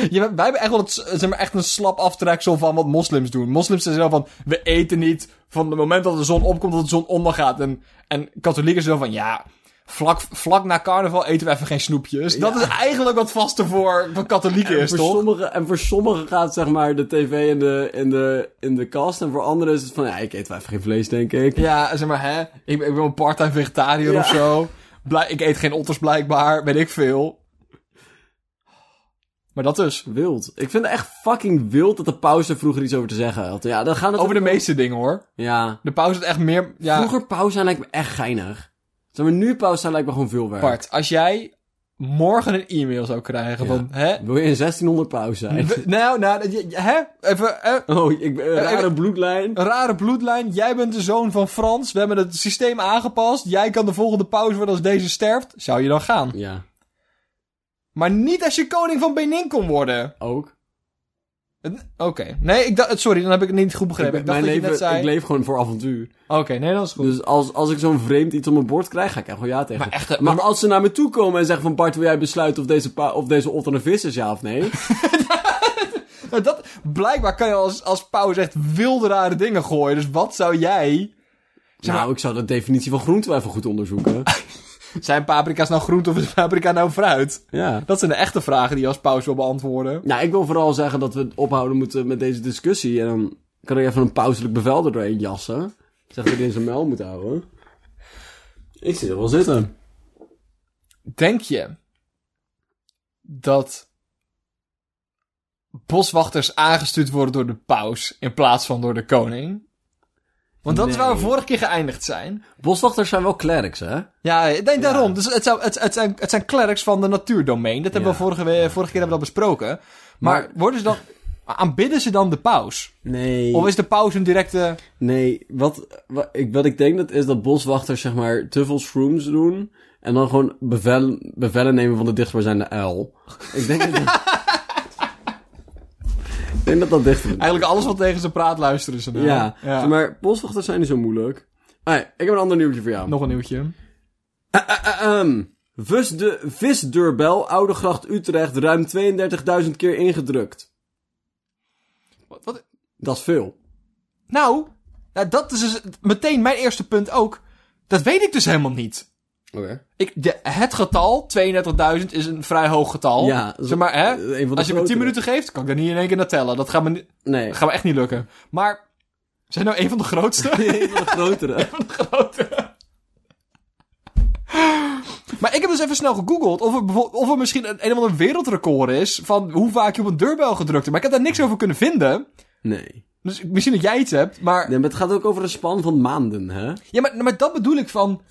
B: Ja, maar wij hebben echt wel het, zeg maar, echt een slap aftreksel van wat moslims doen. Moslims zijn zo van, we eten niet van het moment dat de zon opkomt tot de zon ondergaat. En, en katholieken zijn zo van, ja, vlak, vlak na carnaval eten we even geen snoepjes. Dat is eigenlijk wat vaste voor, voor katholieken is,
A: voor
B: toch?
A: sommigen, en voor sommigen gaat zeg maar de tv in de, in de, in de kast. En voor anderen is het van... Ja, ik eet wel even geen vlees, denk ik.
B: Ja, zeg maar, hè, ik, ben- ik ben een part-time vegetariër
A: Ja.
B: of zo. Blijk- ik eet geen otters blijkbaar, weet ik veel. Maar dat dus.
A: Wild. Ik vind het echt fucking wild dat de paus er vroeger iets over te zeggen had. Ja, dan gaan het
B: Over de meeste dingen, hoor.
A: Ja.
B: De pauze is echt meer... Ja.
A: Vroeger paus zijn lijkt me echt geinig. Zeg maar, nu paus zijn lijkt me gewoon veel werk.
B: Bart, als jij morgen een e-mail zou krijgen van... Hè?
A: Wil je in 1600 pauze zijn?
B: We- Nou, nou, je- je- hè? Even, hè?
A: Oh, ik ben een
B: Eh,
A: rare
B: eh,
A: bloedlijn.
B: Een rare bloedlijn. Jij bent de zoon van Frans. We hebben het systeem aangepast. Jij kan de volgende pauze worden als deze sterft. Zou je dan gaan?
A: Ja,
B: Maar niet als je koning van Benin kon worden.
A: ook.
B: Het- Oké. Nee, ik dacht, sorry, dan heb ik het niet goed begrepen. Ik,
A: Ik-
B: dacht
A: mijn
B: dat je
A: leven,
B: net zei...
A: ik leef gewoon voor avontuur.
B: Oké, nee, dat is goed.
A: Dus als, als ik zo'n vreemd iets op mijn bord krijg, ga ik echt wel ja tegen.
B: Maar echt, hè,
A: maar, als ze naar me toe komen en zeggen van... Bart, wil jij besluiten of deze, pa- of deze otter een vis is, ja of nee?
B: Nou, dat, blijkbaar kan je als, als pauze echt wilde rare dingen gooien. Dus wat zou jij... Zeg maar-
A: nou, ik zou de definitie van groente wel even goed onderzoeken.
B: Zijn paprika's nou groente of is paprika nou fruit?
A: ja.
B: Dat zijn de echte vragen die je als pauze wil beantwoorden.
A: Nou, ik wil vooral zeggen dat we ophouden moeten met deze discussie. En dan kan er even een pauzelijk bevel er doorheen jassen. Zegt dat hij in zijn muil moet houden. Ik zit er wel zitten.
B: Denk je dat boswachters aangestuurd worden door de paus in plaats van door de koning? Want dat is waar we
A: Nee.
B: vorige keer geëindigd zijn.
A: Boswachters zijn wel clerics, hè?
B: Ja, ik denk daarom. Dus het, zou, het, het, zijn, het zijn clerics van de natuurdomein. Dat hebben
A: Ja.
B: we vorige, we- vorige keer hebben we dat besproken. Maar,
A: Maar-
B: worden ze dan, aanbidden ze dan de paus?
A: Nee.
B: Of is de paus een directe...
A: Nee, wat, wat, ik, wat ik denk dat is dat boswachters zeg maar te veel shrooms doen. En dan gewoon bevel, bevelen nemen van de dichtstbijzijnde uil. Ik denk dat... ik denk dat dat dichter
B: Eigenlijk alles wat tegen ze praat luisteren ze naar.
A: Ja, Zeg maar boswachters zijn niet zo moeilijk. Ah, ja, ik heb een ander nieuwtje voor jou.
B: Nog een nieuwtje.
A: Ehm, vis de, visdeurbel Oudegracht Utrecht ruim 32.000 keer ingedrukt.
B: Wat, wat-
A: Dat is veel.
B: Nou, nou, dat is dus meteen mijn eerste punt ook. Dat weet ik dus helemaal niet.
A: Oké.
B: Ik, de- het getal, 32.000, is een vrij hoog getal.
A: Ja,
B: zeg maar, hè?
A: Een van de
B: Als je me
A: grotere.
B: 10 minuten geeft, kan ik dat niet in één keer naar tellen. Dat gaat me, ni-
A: Nee,
B: dat gaat me echt niet lukken. Maar, zijn nou een van de grootste?
A: een van de grotere.
B: Grote. Maar ik heb dus even snel gegoogeld of er, bijvo- of er misschien een, een of ander wereldrecord is van hoe vaak je op een deurbel gedrukt hebt. Maar ik heb daar niks over kunnen vinden.
A: Nee.
B: Dus ik- misschien dat jij iets hebt, maar...
A: nee. Maar het gaat ook over een span van maanden, hè?
B: Ja, maar, maar dat bedoel ik van...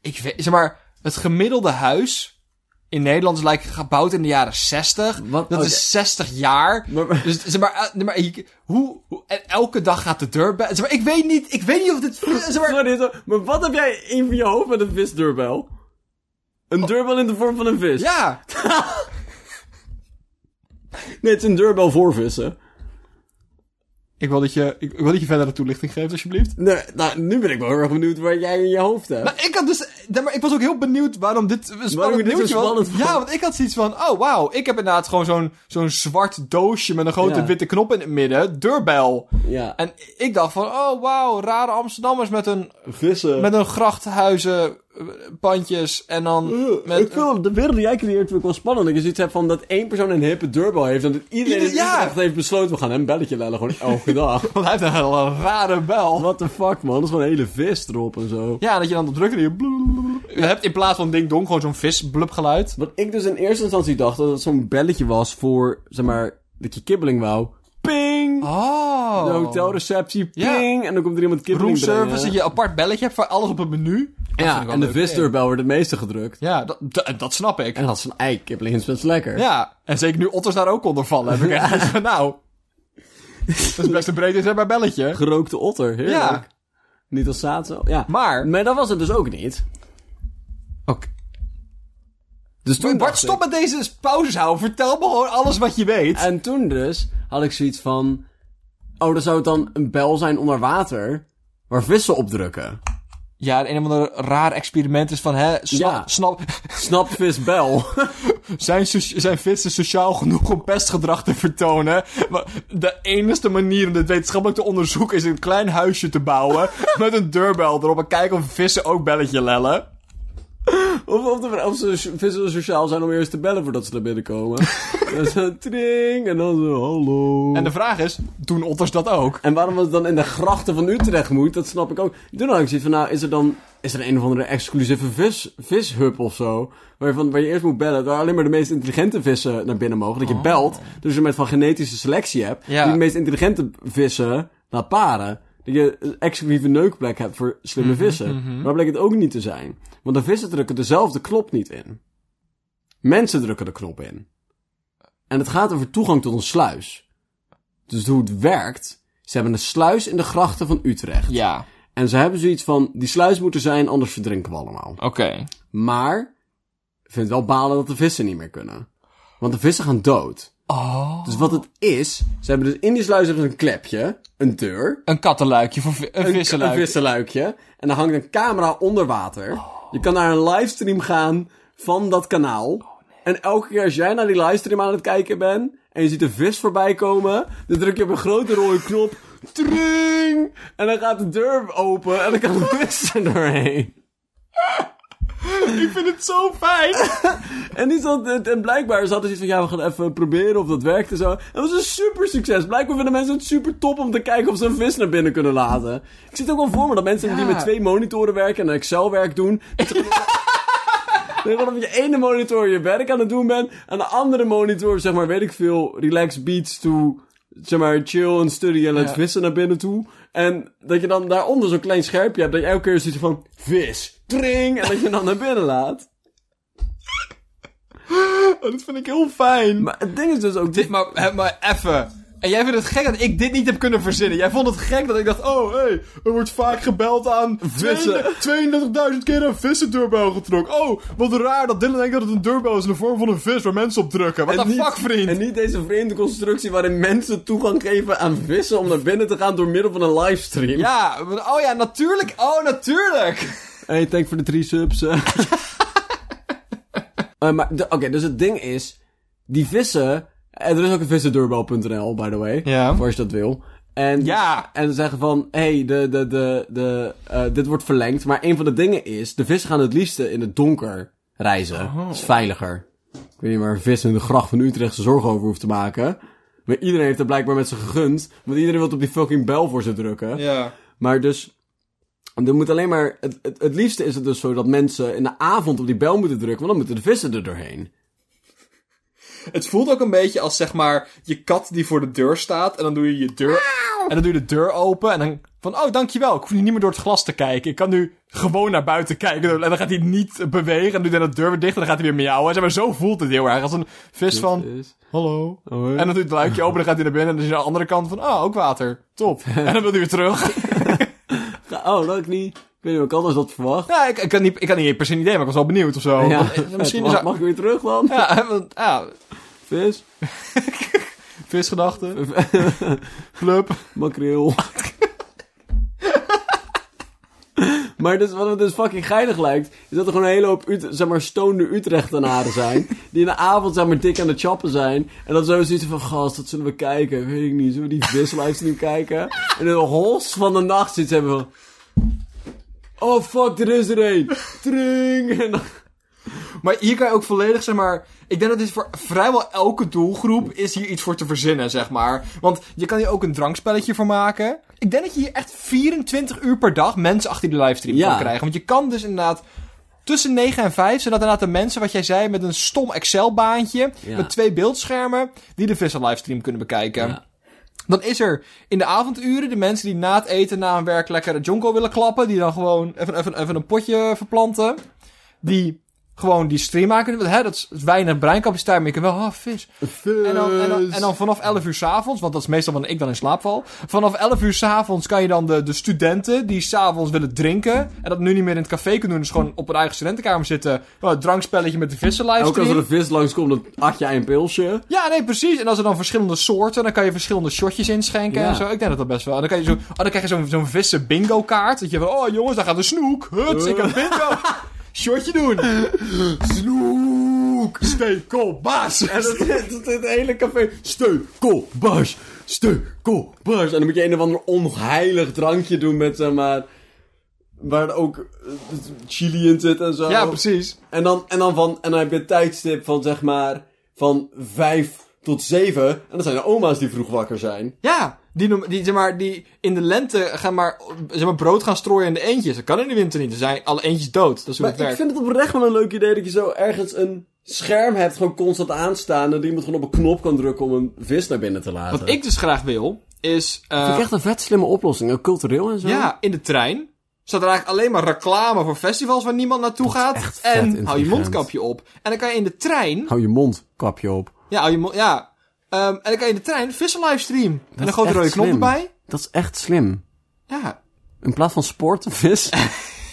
B: Ik weet, zeg maar, het gemiddelde huis in Nederland is like, gebouwd in de jaren 60.
A: Wat?
B: Dat
A: Oké.
B: is 60 jaar.
A: Maar-
B: Dus zeg maar, eh, nee, maar je- hoe, hoe- en elke dag gaat de deur bij... Zeg maar, ik weet niet, ik weet niet of dit... eh, Zeg maar,
A: Sorry, zo- maar wat heb jij in je hoofd met een visdeurbel? Een deurbel in de vorm van een vis?
B: ja,
A: Nee, het is een deurbel voor vissen.
B: ik wil, dat je, ik, ik wil dat je verdere toelichting geeft, alsjeblieft.
A: Nee, nou, nu ben ik wel heel erg benieuwd waar jij in je hoofd hebt.
B: Maar ik had dus... nee, Maar ik was ook heel benieuwd waarom dit een
A: je
B: spannend
A: dit zo
B: nieuwtje was.
A: spannend vond.
B: Ja, want ik had zoiets van... Oh, wauw. Ik heb inderdaad gewoon zo'n zo'n zwart doosje met een grote
A: Ja.
B: witte knop in het midden. Deurbel.
A: ja.
B: En ik dacht van, oh wauw, rare Amsterdammers met een,
A: vissen.
B: met een grachthuizen, eh, pandjes en dan... met-
A: ik wil de wereld die jij creëert vind ik wel spannend. Dat je zoiets hebt van dat één persoon een hippe deurbel heeft. En dat iedereen
B: Ieder-
A: in
B: ja.
A: Utrecht heeft besloten. We gaan hem belletje lellen gewoon elke dag.
B: Want hij heeft een, een rare bel.
A: What the fuck man. Dat is gewoon een hele vis erop en zo.
B: Ja, dat je dan op drukt en je... blub- Je hebt in plaats van ding dong gewoon zo'n visblub geluid.
A: Wat ik dus in eerste instantie dacht. Dat het zo'n belletje was voor zeg maar dat je kibbeling wou. Ping.
B: Oh.
A: De hotelreceptie.
B: Ja.
A: Ping. En dan komt er iemand kibbeling
B: Roomservice, dat
A: brengen.
B: je een apart belletje hebt voor alles op het menu. Dat vind ik
A: Ja.
B: wel
A: En de
B: leuk.
A: visdeurbel wordt het meeste gedrukt.
B: Ja, dat, dat, dat snap ik.
A: En dat is een ei. Kibbeling is best lekker.
B: Ja, en zeker nu otters daar ook onder vallen. Heb ik echt zoiets van, nou... Dat is best een breed inzetbaar belletje.
A: Gerookte otter. Heerlijk.
B: Ja.
A: Niet als zaadcel. Ja.
B: Maar...
A: Maar dat was het dus ook niet.
B: Oké.
A: Dus toen
B: Bart,
A: dacht
B: stop met deze pauzes houden. Vertel me gewoon alles wat je weet.
A: En toen dus had ik zoiets van... Oh, dan zou het dan een bel zijn onder water... waar vissen op drukken.
B: Ja, een of ander raar experiment is van, hè, snap,
A: Ja.
B: snap
A: Snap visbel.
B: zijn, so- zijn vissen sociaal genoeg om pestgedrag te vertonen? Maar de enige manier om dit wetenschappelijk te onderzoeken is een klein huisje te bouwen met een deurbel erop en kijken of vissen ook belletje lellen.
A: of, of, de- of ze so- vissen sociaal zijn om eerst te bellen voordat ze naar binnen komen. dan zo eh, tring en dan zo hallo.
B: En
A: En,
B: de vraag is, doen otters dat ook?
A: waarom het dan in de grachten van Utrecht moet, dat snap ik ook. Toen had ik zoiets van, nou, is er dan... Is er een of andere exclusieve vis, vishub of zo? Waarvan, waar je eerst moet bellen, waar alleen maar de meest intelligente vissen naar binnen mogen. Dat je belt, dus je met van genetische selectie hebt.
B: Oh. Ja.
A: Die de meest intelligente vissen laat paren. Dat je een exclusieve neukplek hebt voor slimme
B: Mhm,
A: vissen. Maar dat bleek het ook niet te zijn. Want de vissen drukken dezelfde knop niet in. Mensen drukken de knop in. En het gaat over toegang tot een sluis. Dus hoe het werkt. Ze hebben een sluis in de grachten van Utrecht.
B: Ja,
A: En ze hebben zoiets van, die sluis moet er zijn, anders verdrinken we allemaal.
B: oké.
A: Maar, ik vind het wel balen dat de vissen niet meer kunnen. Want de vissen gaan dood.
B: Oh.
A: Dus wat het is, ze hebben dus in die sluis hebben ze een klepje, een deur,
B: Een kattenluikje voor vi- een
A: een
B: vissenluik.
A: vissenluikje. Oh. En daar hangt een camera onder water. Je kan naar een livestream gaan van dat kanaal. En elke keer als jij naar die livestream aan het kijken bent en je ziet een vis voorbij komen, dan druk je op een grote rode knop. Tring! En dan gaat de deur open en dan kan de vis er doorheen.
B: Ik vind het zo fijn.
A: En, niet dat, het- en blijkbaar zat er iets van, ja, we gaan even proberen of dat werkt en zo. En dat was een super succes. Blijkbaar vinden mensen het super top om te kijken of ze een vis naar binnen kunnen laten. Ik zit ook wel voor me dat mensen die
B: Ja.
A: met twee monitoren werken en een Excel-werk doen... dat ze gewoon- Dat je op je ene monitor je werk aan het doen bent. Aan de andere monitor, zeg maar, weet ik veel, relax beats to... Zeg maar, chill en study en laat
B: Ja.
A: vissen naar binnen toe. En dat je dan daaronder zo'n klein schermpje hebt. Dat je elke keer zoiets van, vis, tring. En dat je hem dan naar binnen laat.
B: Oh, dat vind ik heel fijn. Maar,
A: Maar het ding is dus ook...
B: dit, maar, hè, maar even. En jij vindt het gek dat ik dit niet heb kunnen verzinnen. Jij vond het gek dat ik dacht, oh hé, hey, er wordt vaak gebeld aan
A: Vissen.
B: 32.000 keer een vissendeurbel getrokken. Oh, wat raar dat Dylan denkt dat het een deurbel is in de vorm van een vis waar mensen op drukken. Wat
A: En
B: een
A: niet-
B: fuck vriend.
A: En niet deze vreemde constructie waarin mensen toegang geven aan vissen om naar binnen te gaan door middel van een livestream.
B: Ja, maar- oh ja, natuurlijk. Oh, natuurlijk.
A: Hey, thank voor de drie subs. eh. Eh, maar, de- oké, dus het ding is, die vissen, en er is ook een vissendeurbel.nl, by the way,
B: Ja.
A: voor als je dat wil. En,
B: Ja.
A: en ze zeggen van, hé, hey, de, de, de, de, eh, dit wordt verlengd, maar een van de dingen is, de vissen gaan het liefste in het donker reizen.
B: Oh.
A: Dat is veiliger. Ik weet niet waar een vis in de gracht van Utrecht zich zorgen over hoeft te maken. Maar iedereen heeft er blijkbaar met ze gegund, want iedereen wil op die fucking bel voor ze drukken.
B: Ja.
A: Maar dus. Er moet alleen maar. Het, het, het liefste is het dus zo dat mensen in de avond op die bel moeten drukken, want dan moeten de vissen er doorheen.
B: Het voelt ook een beetje als zeg maar je kat die voor de deur staat en dan doe je je deur en dan doe je de deur open en dan van oh dankjewel, ik hoef nu niet meer door het glas te kijken. Ik kan nu gewoon naar buiten kijken en dan gaat hij niet bewegen en doet hij de deur weer dicht en dan gaat hij weer miauwen. Zeg maar zo voelt het heel erg als een vis van
A: Dus-
B: hallo.
A: Hoi.
B: En dan doet het luikje open en dan gaat hij naar binnen en dan is hij aan de andere kant van ah ook water. Top. En dan wil hij weer terug.
A: Ga- oh, dat ik niet. Ik weet niet, wat ik anders dat verwacht.
B: Ja, ik, ik kan niet ik had niet per se een idee, maar ik was wel benieuwd of zo.
A: ja,
B: Want, eh,
A: misschien
B: misschien is hij-
A: mag ik weer terug dan?
B: ja, want, ja,
A: Vis,
B: visgedachten. Club.
A: makreel. maar dus, wat het dus fucking geinig lijkt, is dat er gewoon een hele hoop Ut- zeg maar, stoonde Utrechtenaren zijn. die in de avond zeg maar, dik aan het chappen zijn. En dan zo zoiets van, gast, dat zullen we kijken. Weet ik niet, zullen we die vislijst nu kijken? En in de hols van de nacht zoiets hebben van... Oh fuck, er is er een. Tring. En dan-
B: Maar hier kan je ook volledig, zeg maar... Ik denk dat dit voor vrijwel elke doelgroep is hier iets voor te verzinnen, zeg maar. Want je kan hier ook een drankspelletje voor maken. Ik denk dat je hier echt 24 uur per dag mensen achter die livestream
A: Ja.
B: kan krijgen. Want je kan dus inderdaad... Tussen 9 en 5 zijn dat inderdaad de mensen, wat jij zei, met een stom Excel-baantje.
A: Ja.
B: Met twee beeldschermen, die de Vissel livestream kunnen bekijken.
A: Ja.
B: Dan is er in de avonduren de mensen die na het eten, na hun werk lekker de jonko willen klappen. Die dan gewoon even, even, even een potje verplanten. Die gewoon die stream maken. Want hè, dat is weinig breincapaciteit, maar je kan wel, ah, vis. En dan, en, dan, en dan vanaf 11 uur s'avonds, want dat is meestal wanneer ik dan in slaap val. Vanaf 11 uur s'avonds kan je dan de, de studenten die s'avonds willen drinken. En dat nu niet meer in het café kunnen doen, dus gewoon op hun eigen studentenkamer zitten. Wel, een drankspelletje met de vissen
A: Ook
B: livestream.
A: als er een vis langskomt, dan at jij een pilsje.
B: Ja, nee, precies. En als er dan verschillende soorten, dan kan je verschillende shotjes inschenken
A: Ja.
B: en zo. Ik denk dat dat best wel. En dan, kan je zo, oh, dan krijg je zo'n zo'n vissen bingo kaart. Dat je van, oh jongens, daar gaat de snoek. Huts, ik heb bingo. Shotje doen. Snoek. Stekelbaas.
A: En dat is dat is het hele café. Steukelbars. Steukelbas. En dan moet je een of ander onheilig drankje doen met, zeg maar... Waar ook eh, chili in zit en zo.
B: Ja, precies.
A: En dan, en dan, van, en dan heb je een tijdstip van, zeg maar... Van vijf tot zeven. En dan zijn de oma's die vroeg wakker zijn.
B: Ja, die, noem- die, zeg maar, die in de lente gaan maar, zeg maar brood gaan strooien in de eentjes. Dat kan in de winter niet. Dan zijn alle eentjes dood. Dat is hoe
A: Maar
B: het werkt.
A: ik vind het oprecht wel een leuk idee dat je zo ergens een scherm hebt. Gewoon constant aanstaan. En die iemand gewoon op een knop kan drukken om een vis naar binnen te laten.
B: Wat ik dus graag wil, is... eh,
A: vind ik echt een vet slimme oplossing. Ook cultureel en zo.
B: ja, in de trein. Staat er eigenlijk alleen maar reclame voor festivals waar niemand naartoe gaat.
A: echt vet
B: en hou je
A: intelligent.
B: mondkapje op. En dan kan je in de trein.
A: Hou je mond, kapje op.
B: Ja, hou je mond. Ja. Ehm, en dan kan je in de trein vissen livestream. En
A: is
B: een grote
A: echt
B: rode knop
A: slim.
B: erbij.
A: Dat is echt slim.
B: Ja.
A: In plaats van sport, vis.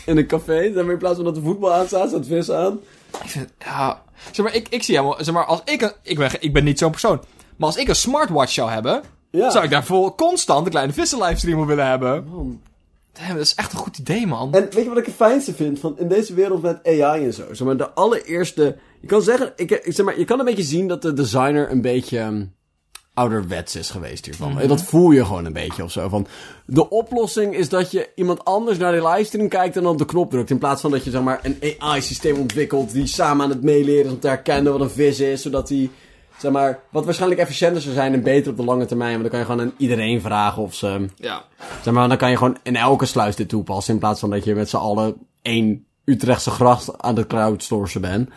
A: in een café. Dan in plaats van dat de voetbal aan staat, staat vis aan.
B: Ik vind het- ja. Zeg maar, ik, ik zie helemaal. Zeg maar, als ik een. Ik ben, ge- ik ben niet zo'n persoon. Maar als ik een smartwatch zou hebben.
A: Ja.
B: Zou ik daarvoor constant een kleine vissen livestream op willen hebben.
A: Man.
B: Damn, dat is echt een goed idee, man.
A: En weet je wat ik het fijnste vind? Van in deze wereld met AI en zo. Zeg maar, de allereerste... Je kan zeggen... Ik, ik zeg maar, je kan een beetje zien dat de designer een beetje... ehm, ouderwets is geweest hiervan. Dat voel je gewoon een beetje of zo. Van, de oplossing is dat je iemand anders naar die livestream kijkt en dan op de knop drukt. In plaats van dat je zeg maar, een AI-systeem ontwikkelt die samen aan het meeleren is om te herkennen wat een vis is. Zodat hij, zeg maar, wat waarschijnlijk efficiënter zou zijn en beter op de lange termijn. Want dan kan je gewoon aan iedereen vragen of ze... ehm,
B: Ja.
A: Zeg maar, dan kan je gewoon in elke sluis dit toepassen. In plaats van dat je met z'n allen één Utrechtse gracht aan het crowdsourcen bent.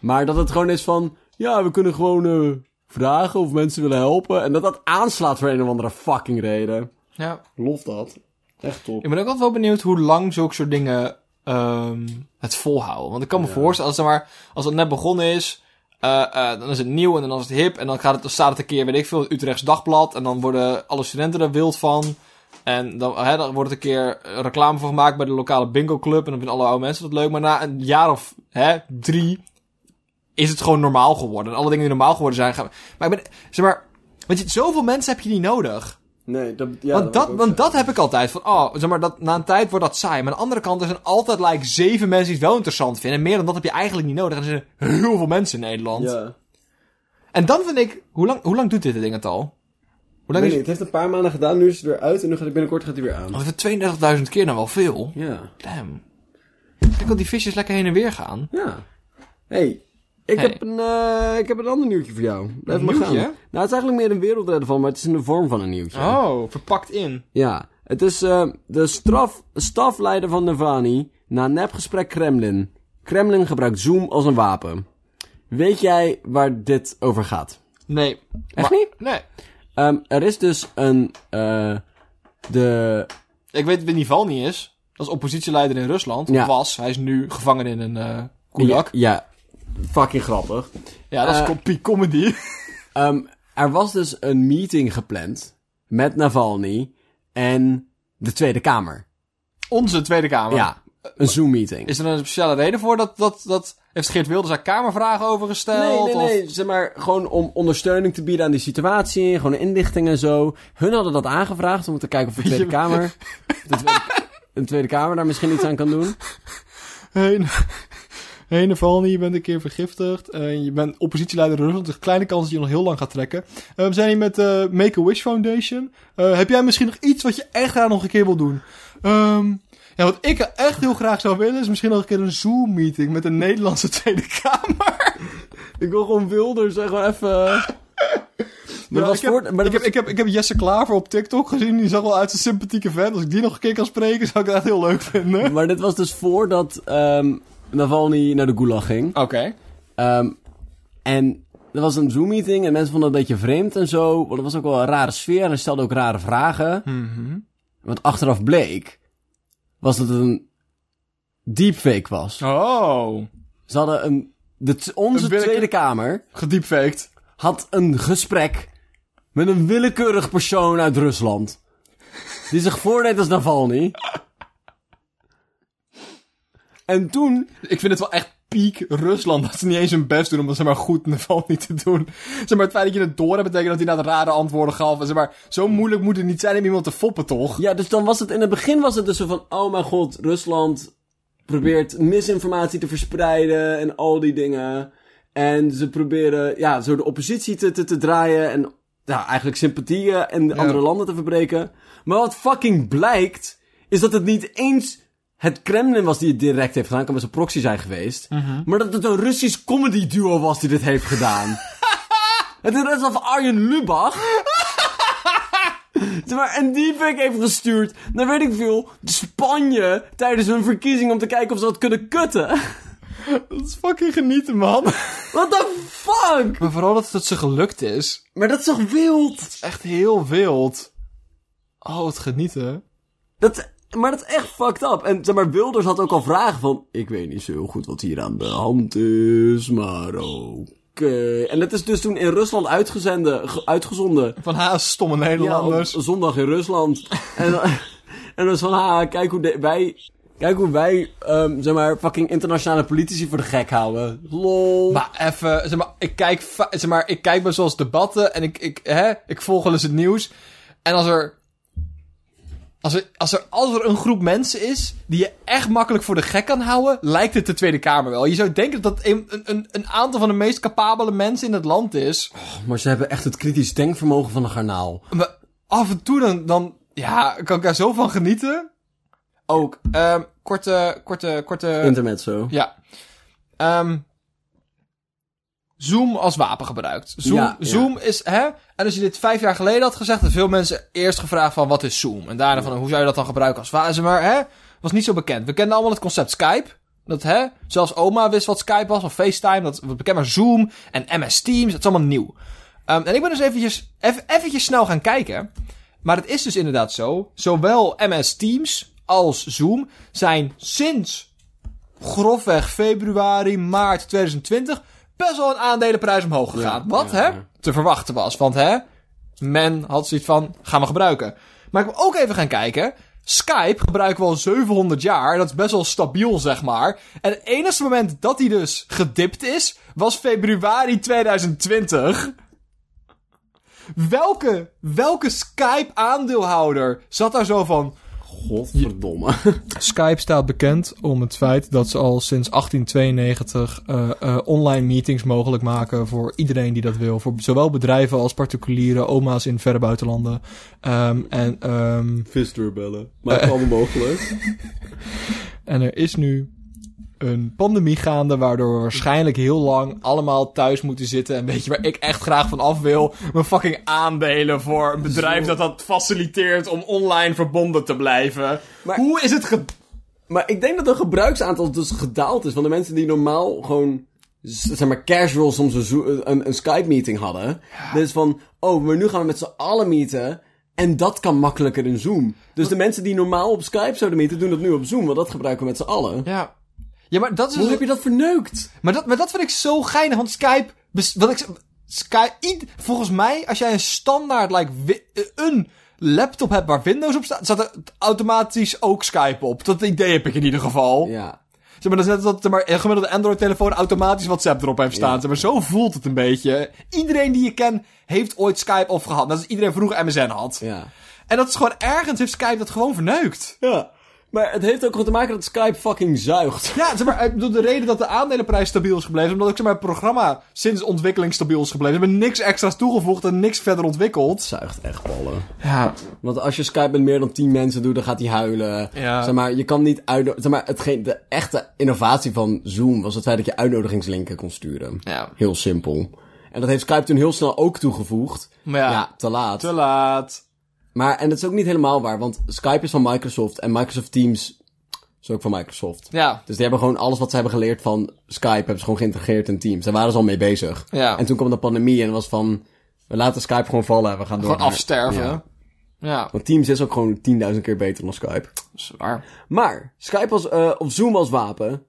A: Maar dat het gewoon is van. Ja, we kunnen gewoon eh, vragen of mensen willen helpen. En dat dat aanslaat voor een of andere fucking reden.
B: Ja.
A: Lof dat. Echt top.
B: Ik ben ook altijd wel benieuwd hoe lang zulke soort dingen ehm, het volhouden. Want ik kan me voorstellen, als, zeg maar, als het net begonnen is, eh, eh, dan is het nieuw en dan is het hip. En dan gaat het, dan staat het een keer, weet ik veel, in het Utrechts Dagblad. En dan worden alle studenten er wild van. En dan, hè, dan wordt er een keer eh, reclame voor gemaakt bij de lokale bingo club. En dan vinden alle oude mensen dat leuk. Maar na een jaar of hè, drie is het gewoon normaal geworden. En alle dingen die normaal geworden zijn, gaan... Maar ik ben, zeg maar, want je, zoveel mensen heb je niet nodig.
A: Nee, dat, ja,
B: Want, dat, want dat heb ik altijd. Van, oh, zeg maar, dat, na een tijd wordt dat saai. Maar aan de andere kant er zijn altijd like, zeven mensen die het wel interessant vinden. En meer dan dat heb je eigenlijk niet nodig. En er zijn heel veel mensen in Nederland.
A: Ja.
B: En dan vind ik... Hoe lang, hoe lang doet dit ding het al? Hoe lang
A: Nee,
B: is
A: nee, het heeft een paar maanden gedaan. Nu is het weer uit. En nu gaat hij binnenkort gaat hij weer aan.
B: het? 32.000 keer nou wel veel.
A: Ja.
B: Damn. Kijk al die visjes lekker heen en weer gaan.
A: Ja. hey, ik,
B: Hey.
A: Heb een, eh, ik heb een ander nieuwtje voor jou. Blijf
B: Een
A: maar gaan.
B: nieuwtje?
A: Nou, het is eigenlijk meer een wereldredder van, maar het is in de vorm van een nieuwtje.
B: Oh, verpakt in.
A: Ja, het is eh, de straf, stafleider van Navani na nepgesprek Kremlin. Kremlin gebruikt Zoom als een wapen. Weet jij waar dit over gaat?
B: Nee.
A: Echt
B: Maar-
A: niet?
B: Nee.
A: Ehm, er is dus een... eh, de...
B: Ik weet wie Navalny is. Dat is oppositieleider in Rusland.
A: Ja.
B: Was. Hij is nu gevangen in een eh koelak.
A: Ja, fucking grappig.
B: Ja, dat is
A: Eh.
B: kopie comedy.
A: Ehm, er was dus een meeting gepland met Navalny en de Tweede Kamer.
B: Onze Tweede Kamer.
A: Ja, een Zoom-meeting.
B: Is er een speciale reden voor dat, dat, dat heeft Geert Wilders daar kamervragen over gesteld?
A: Nee, nee, nee. Zeg maar, gewoon om ondersteuning te bieden aan die situatie. Gewoon inlichting en zo. Hun hadden dat aangevraagd om te kijken of de Tweede
B: je-
A: Kamer... De tweede, de tweede Kamer daar misschien iets aan kan doen.
B: Of... Heen val niet, je bent een keer vergiftigd. en je bent oppositieleider in Rusland. Dus een kleine kans dat je nog heel lang gaat trekken. Eh, we zijn hier met eh Make-A-Wish Foundation. Eh, heb jij misschien nog iets wat je echt graag nog een keer wil doen? Ehm, ja, wat ik echt heel graag zou willen... is misschien nog een keer een Zoom-meeting met de Nederlandse Tweede Kamer.
A: Ik wil gewoon Wilders zeg maar even... Maar dat
B: Ja,
A: was
B: ik, heb,
A: voor... Maar dat
B: ik, heb,
A: was-
B: ik, heb, ik heb Jesse Klaver op TikTok gezien. Die zag wel uit zijn sympathieke vent. Als ik die nog een keer kan spreken, zou ik dat echt heel leuk vinden.
A: Maar dit was dus voordat ehm Navalny naar de Gulag ging.
B: Oké.
A: Ehm, en er was een Zoom-meeting en mensen vonden het een beetje vreemd en zo. Want het was ook wel een rare sfeer en hij stelde ook rare vragen.
B: Mhm.
A: Wat achteraf bleek, was dat het een deepfake was.
B: Oh.
A: Ze hadden een... De, t- onze
B: Een willeke-
A: Tweede Kamer
B: Gediepfaked.
A: had een gesprek met een willekeurig persoon uit Rusland. Die zich voordeed als Navalny. En toen...
B: Ik vind het wel echt piek Rusland dat ze niet eens hun best doen om dat zeg maar goed in de val niet te doen. Zeg maar, het feit dat je het door hebt betekent dat hij naar de rare antwoorden gaf. En Zeg maar, zo moeilijk moet het niet zijn om iemand te foppen, toch?
A: Ja, dus dan was het... In het begin was het dus zo van... Oh mijn god, Rusland probeert misinformatie te verspreiden en al die dingen. En ze proberen ja, zo de oppositie te, te, te draaien en ja, eigenlijk sympathieën en de
B: Ja.
A: andere landen te verbreken. Maar wat fucking blijkt, is dat het niet eens het Kremlin was die het direct heeft gedaan. Kan wel zijn proxy zijn geweest.
B: Mhm.
A: Maar dat het een Russisch comedy duo was die dit heeft gedaan. het is net alsof Arjen Lubach... Zeg Maar een deepfake heeft gestuurd naar weet ik veel Spanje tijdens hun verkiezing om te kijken of ze dat kunnen kutten.
B: Dat is fucking genieten, man.
A: What the fuck?
B: Maar vooral dat het ze gelukt is.
A: Maar dat is toch wild?
B: Echt heel wild. Oh, het genieten.
A: Dat, maar dat is echt fucked up. En zeg maar, Wilders had ook al vragen van... Ik weet niet zo heel goed wat hier aan de hand is, maar oké. En het is dus toen in Rusland uitgezende, ge- uitgezonden.
B: Van haast stomme
A: Ja, op
B: Nederlanders.
A: zondag in Rusland. en, dan- en dan is van, ha, kijk hoe de- wij... Kijk hoe wij, ehm, zeg maar, fucking internationale politici voor de gek houden. Lol.
B: Maar even, zeg maar, ik kijk, va- zeg maar, ik kijk bij zoals debatten en ik, ik, hè, ik volg wel eens het nieuws. En als er, als er, als er, als er een groep mensen is die je echt makkelijk voor de gek kan houden, lijkt het de Tweede Kamer wel. Je zou denken dat dat een, een, een aantal van de meest capabele mensen in het land is.
A: maar ze hebben echt het kritisch denkvermogen van een garnaal.
B: Maar af en toe dan, dan ja, kan ik daar zo van genieten. Ook, ehm, korte, korte, korte...
A: Internet zo.
B: Ja. Ehm, Zoom als wapen gebruikt. Zoom,
A: Ja, ja.
B: Zoom is, hè? En als je dit vijf jaar geleden had gezegd, hadden veel mensen eerst gevraagd van wat is Zoom? En daarna van hoe zou je dat dan gebruiken als wapen? Maar, hè? Was niet zo bekend. We kenden allemaal het concept Skype. Dat, hè? Zelfs oma wist wat Skype was, of FaceTime, dat was bekend, maar Zoom en MS Teams, dat is allemaal nieuw. Ehm, en ik ben dus eventjes, eff- eventjes snel gaan kijken. Maar het is dus inderdaad zo, zowel MS Teams als Zoom zijn sinds grofweg februari, maart 2020 best wel een aandelenprijs omhoog gegaan.
A: Ja,
B: Wat
A: ja,
B: hè?
A: ja.
B: Te verwachten was. Want hè, men had zoiets van, gaan we gebruiken. Maar ik ben ook even gaan kijken. Skype gebruiken we al 700 jaar. Dat is best wel stabiel, zeg maar. En het enige moment dat hij dus gedipt is, was februari 2020. Welke, welke Skype-aandeelhouder zat daar zo van...
A: Godverdomme.
B: Skype staat bekend om het feit dat ze al sinds 1892 eh, eh, online meetings mogelijk maken voor iedereen die dat wil. Voor zowel bedrijven als particulieren, oma's in verre buitenlanden. Ehm, en, ehm,
A: Visdeur bellen. Maakt allemaal mogelijk.
B: en er is nu een pandemie gaande, waardoor we waarschijnlijk heel lang allemaal thuis moeten zitten. En weet je waar ik echt graag van af wil? Mijn fucking aandelen voor een bedrijf dat dat faciliteert om online verbonden te blijven.
A: Maar-
B: Hoe is het ge...
A: Maar ik denk dat een gebruiksaantal dus gedaald is van de mensen die normaal gewoon, z- zeg maar, casual soms een, zo- een, een Skype-meeting hadden. Dus van, oh, maar nu gaan we met z'n allen meeten. En dat kan makkelijker in Zoom. Dus de mensen die normaal op Skype zouden meeten, doen dat nu op Zoom, want dat gebruiken we met z'n allen.
B: Ja. Ja, maar dat is dus-
A: Hoe heb je dat verneukt?
B: Maar dat, maar dat vind ik zo geinig, want Skype... bes- Wat ik, Skype ied- volgens mij, als jij een standaard, like, wi- eh, een laptop hebt waar Windows op staat... staat er automatisch ook Skype op. Dat idee heb ik in ieder geval.
A: Ja.
B: Zeg maar, dat is net als dat er maar een gemiddelde Android-telefoon automatisch WhatsApp erop heeft staan. Zeg maar, zo voelt het een beetje. Iedereen die je kent, heeft ooit Skype of gehad. Net als iedereen vroeger MSN had.
A: Ja.
B: En dat is gewoon ergens, heeft Skype dat gewoon verneukt.
A: Ja. Maar het heeft ook gewoon te maken dat Skype fucking zuigt.
B: Ja, zeg maar, ik bedoel, de reden dat de aandelenprijs stabiel is gebleven... is omdat ik zeg maar, het programma sinds ontwikkeling stabiel is gebleven. Ze hebben niks extra's toegevoegd en niks verder ontwikkeld.
A: Zuigt echt ballen.
B: Ja.
A: Want als je Skype met meer dan 10 mensen doet, dan gaat hij huilen.
B: Ja.
A: Zeg maar, je kan niet uitno- Zeg maar, hetgeen, de echte innovatie van Zoom was het feit dat je uitnodigingslinken kon sturen.
B: Ja.
A: Heel simpel. En dat heeft Skype toen heel snel ook toegevoegd.
B: Maar ja,
A: te laat.
B: te laat.
A: Maar, en dat is ook niet helemaal waar, want Skype is van Microsoft en Microsoft Teams is ook van Microsoft.
B: Ja.
A: Dus die hebben gewoon alles wat ze hebben geleerd van Skype, hebben ze gewoon geïntegreerd in Teams. Daar waren ze al mee bezig.
B: Ja.
A: En toen kwam de pandemie en was van, we laten Skype gewoon vallen, we gaan door.
B: Gewoon
A: naar-
B: afsterven.
A: Ja.
B: Ja.
A: Want Teams is ook gewoon 10.000 keer beter dan Skype.
B: zwaar.
A: Maar Skype als, eh, of Zoom als wapen.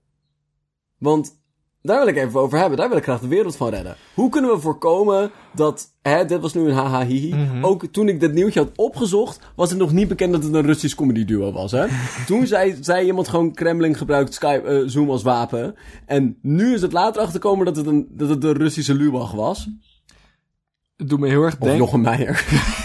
A: Want daar wil ik even over hebben. Daar wil ik graag de wereld van redden. Hoe kunnen we voorkomen dat... Hè, dit was nu een haha hihi. Ook toen ik dit nieuwtje had opgezocht... was het nog niet bekend dat het een Russisch comedy duo was. Hè? toen zei, zei iemand gewoon... Kremlin gebruikt Skype, eh, Zoom als wapen. En nu is het later achterkomen dat het, een, dat het de Russische Lubach was.
B: Het doet me heel erg
A: Of
B: denken...
A: Jochem Meijer.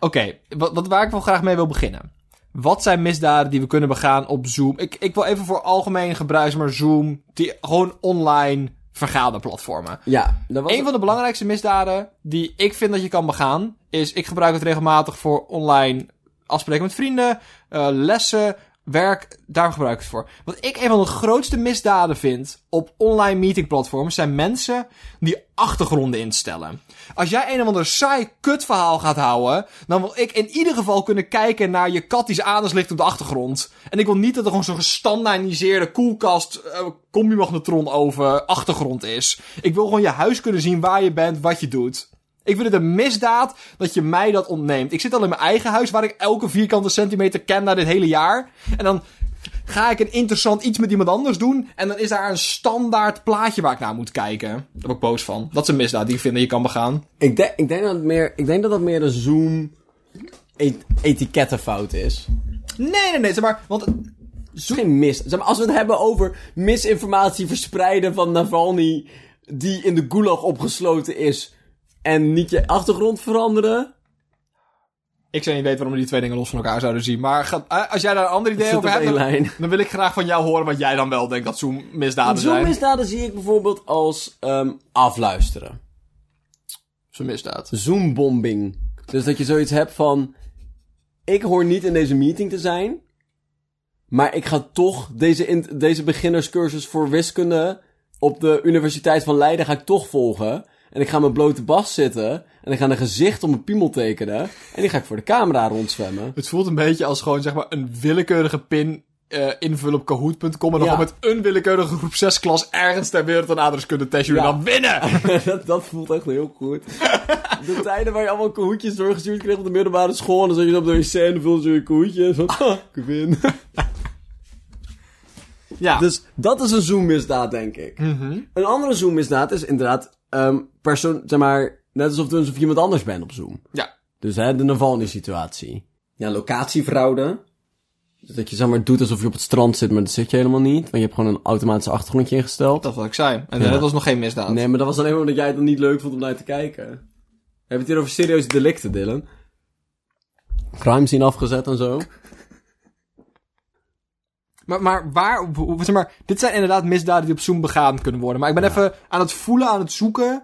B: Oké, wat, wat, waar ik wel graag mee wil beginnen. Wat zijn misdaden die we kunnen begaan op Zoom? Ik, ik wil even voor algemeen gebruik, maar Zoom... Die, gewoon online vergaderplatformen.
A: ja, dat was...
B: Een van de belangrijkste misdaden die ik vind dat je kan begaan, is ik gebruik het regelmatig voor online afspreken met vrienden, eh, lessen, werk. Daar gebruik ik het voor. Wat ik een van de grootste misdaden vind op online meetingplatforms zijn mensen die achtergronden instellen. Als jij een of ander saai kutverhaal gaat houden, dan wil ik in ieder geval kunnen kijken naar je kat die zijn anus ligt op de achtergrond. En ik wil niet dat er gewoon zo'n gestandaardiseerde koelkast, eh combi-magnetron over achtergrond is. Ik wil gewoon je huis kunnen zien waar je bent, wat je doet. Ik vind het een misdaad dat je mij dat ontneemt. Ik zit al in mijn eigen huis waar ik elke vierkante centimeter ken na dit hele jaar. En dan ga ik een interessant iets met iemand anders doen. En dan is daar een standaard plaatje waar ik naar moet kijken. Daar ben ik boos van. Dat is een misdaad die ik vind dat je kan begaan.
A: Ik, denk- ik, denk, dat het meer, ik denk dat dat meer een Zoom et- etikettenfout is.
B: Nee, nee, nee. Zeg maar, want
A: Het is geen mis. Zeg maar, als we het hebben over misinformatie verspreiden van Navalny die in de gulag opgesloten is en niet je achtergrond veranderen.
B: ik zou niet weten waarom we die twee dingen los van elkaar zouden zien. Maar ga- eh, als jij daar een ander idee
A: zit
B: over
A: op
B: hebt,
A: één
B: dan,
A: lijn.
B: dan wil ik graag van jou horen wat jij dan wel denkt dat zo'n misdaden
A: Zo'n
B: zijn.
A: misdaden zie ik bijvoorbeeld als ehm, afluisteren.
B: Zo'n misdaad.
A: Zoombombing. Dus dat je zoiets hebt van... Ik hoor niet in deze meeting te zijn. Maar ik ga toch deze, in- deze beginnerscursus voor wiskunde op de Universiteit van Leiden ga ik toch volgen. En ik ga mijn blote bas zitten. En ik ga een gezicht op mijn piemel tekenen. En die ga ik voor de camera rondzwemmen.
B: Het voelt een beetje als gewoon zeg maar een willekeurige pin eh, invullen op kahoot.com. En dan
A: Ja.
B: gewoon met een willekeurige groep 6 klas ergens ter wereld een aardrijkskunde testje en
A: Ja.
B: dan winnen.
A: dat, dat voelt echt heel goed. De tijden waar je allemaal koetjes doorgestuurd kreeg op de middelbare school. En dan zat je zo op de wc en dan vulde je je koetje. En zo, "Ah, ik win.
B: ja.
A: Dus dat is een zoommisdaad, denk ik. Een andere zoommisdaad is inderdaad, ehm persoon, zeg maar, net alsof je alsof je iemand anders bent op Zoom.
B: ja.
A: Dus hè, de Navalny-situatie. Ja, locatiefraude. Dus dat je zeg maar doet alsof je op het strand zit, maar dat zit je helemaal niet. Want je hebt gewoon een automatische achtergrondje ingesteld.
B: Dat is wat ik zei. En eh, dat was nog geen misdaad.
A: Nee, maar dat was alleen maar omdat jij het dan niet leuk vond om naar te kijken. We hebben het hier over serieuze delicten, Dylan. Crime scene afgezet en zo.
B: Maar, maar waar, hoe- zeg maar, dit zijn inderdaad misdaden die op Zoom begaan kunnen worden. Maar ik ben even aan het voelen, aan het zoeken,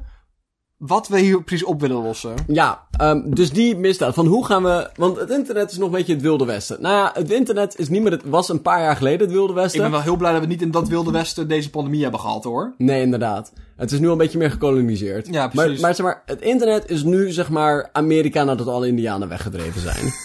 B: wat we hier precies op willen lossen.
A: Ja, ehm, dus die misdaad. Van hoe gaan we. Want het internet is nog een beetje het Wilde Westen. Nou ja, het internet is niet meer. Het was een paar jaar geleden het Wilde
B: Ik
A: Westen.
B: ben wel heel blij dat we niet in dat wilde westen deze pandemie hebben gehad hoor.
A: Nee, inderdaad. Het is nu al een beetje meer gekoloniseerd.
B: Ja, precies.
A: Maar, maar, zeg maar het internet is nu, zeg maar, Amerika nadat alle Indianen weggedreven zijn.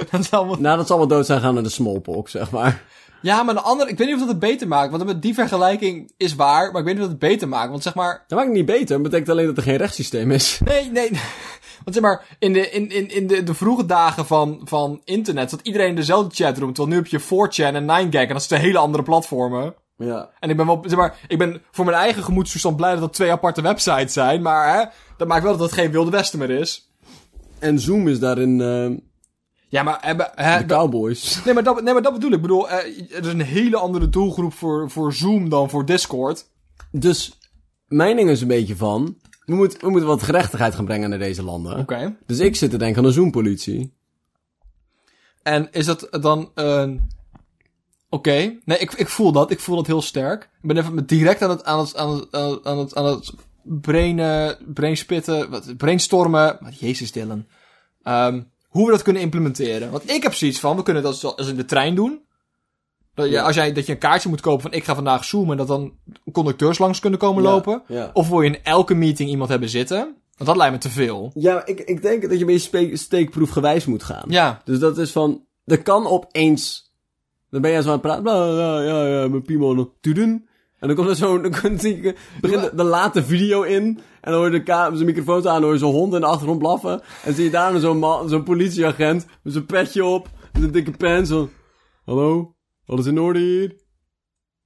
A: Nou,
B: Dat is allemaal...
A: nadat ze allemaal dood zijn gaan naar de smallpox, zeg maar.
B: Ja, maar de andere, ik weet niet of dat het beter maakt. Want met die vergelijking is waar, maar ik weet niet of dat het beter maakt. Want zeg maar,
A: Dat maakt het niet beter. Het betekent alleen dat er geen rechtssysteem is.
B: Nee, nee. Want zeg maar, in de, in, in, in de, de vroege dagen van, van internet zat iedereen in dezelfde chatroom. Terwijl nu heb je 4chan en 9gag en dat zijn twee hele andere platformen.
A: Ja.
B: En ik ben wel, zeg maar, ik ben voor mijn eigen gemoedstoestand blij dat dat twee aparte websites zijn. Maar hè, dat maakt wel dat het geen Wilde Westen meer is.
A: En Zoom is daarin ehm
B: Ja, maar hebben, hè,
A: de Cowboys.
B: nee, maar dat, nee, maar dat bedoel ik. Ik bedoel, eh, er is een hele andere doelgroep voor, voor Zoom dan voor Discord.
A: Dus mijn ding is een beetje van. We, moet, we moeten wat gerechtigheid gaan brengen naar deze landen.
B: Oké.
A: Dus ik zit te denken aan de Zoom-politie.
B: En is dat dan een... Oké, nee, ik, ik voel dat. Ik voel dat heel sterk. Ik ben even direct aan het, aan het, aan het, aan het, aan het, aan het brain, eh, brainspitten, wat, brainstormen. Wat, jezus Dylan. Ehm, hoe we dat kunnen implementeren. Want ik heb zoiets van, we kunnen dat zo- als in de trein doen. Dat je,
A: Ja.
B: als jij, dat je een kaartje moet kopen van ik ga vandaag zoomen. En dat dan conducteurs langs kunnen komen
A: Ja,
B: lopen.
A: ja.
B: Of wil je in elke meeting iemand hebben zitten. Want dat lijkt me te veel.
A: Ja, ik, ik denk dat je een beetje spe- steekproefgewijs moet gaan.
B: Ja,
A: Dus dat is van, er kan opeens, dan ben jij zo aan het praten, bla, bla, bla, ja, ja, mijn piemel, nog, tudun. En dan komt er zo'n, dan komt die- begint de, de late video in, en dan hoor je de ka- zijn microfoon aan, dan hoor je zo'n hond in de achtergrond blaffen. En zie je daar dan zo'n man- zo'n politieagent, met zijn petje op, met een dikke pens, zo, hallo, alles in orde hier?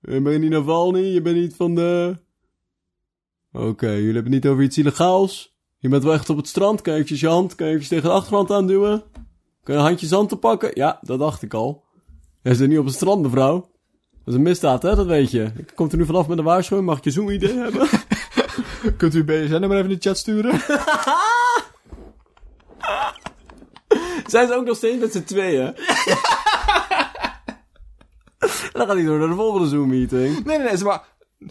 A: Eh, Ben je niet Navalny? Je bent niet van de... Oké, jullie hebben het niet over iets illegaals. Je bent wel echt op het strand. Kan je eventjes je hand kan je eventjes tegen de achtergrond aanduwen? Kun je een handje zand te pakken? Ja, dat dacht ik al. Hij zit niet op het strand, mevrouw. Dat is een misdaad, hè? Dat weet je. Ik kom er nu vanaf met een waarschuwing. Mag ik je zo'n idee hebben?
B: kunt u BSN maar even in de chat sturen?
A: Zijn ze ook nog steeds met z'n tweeën? En dan gaat hij door naar de volgende Zoom-meeting.
B: Nee, nee, nee, ze maar...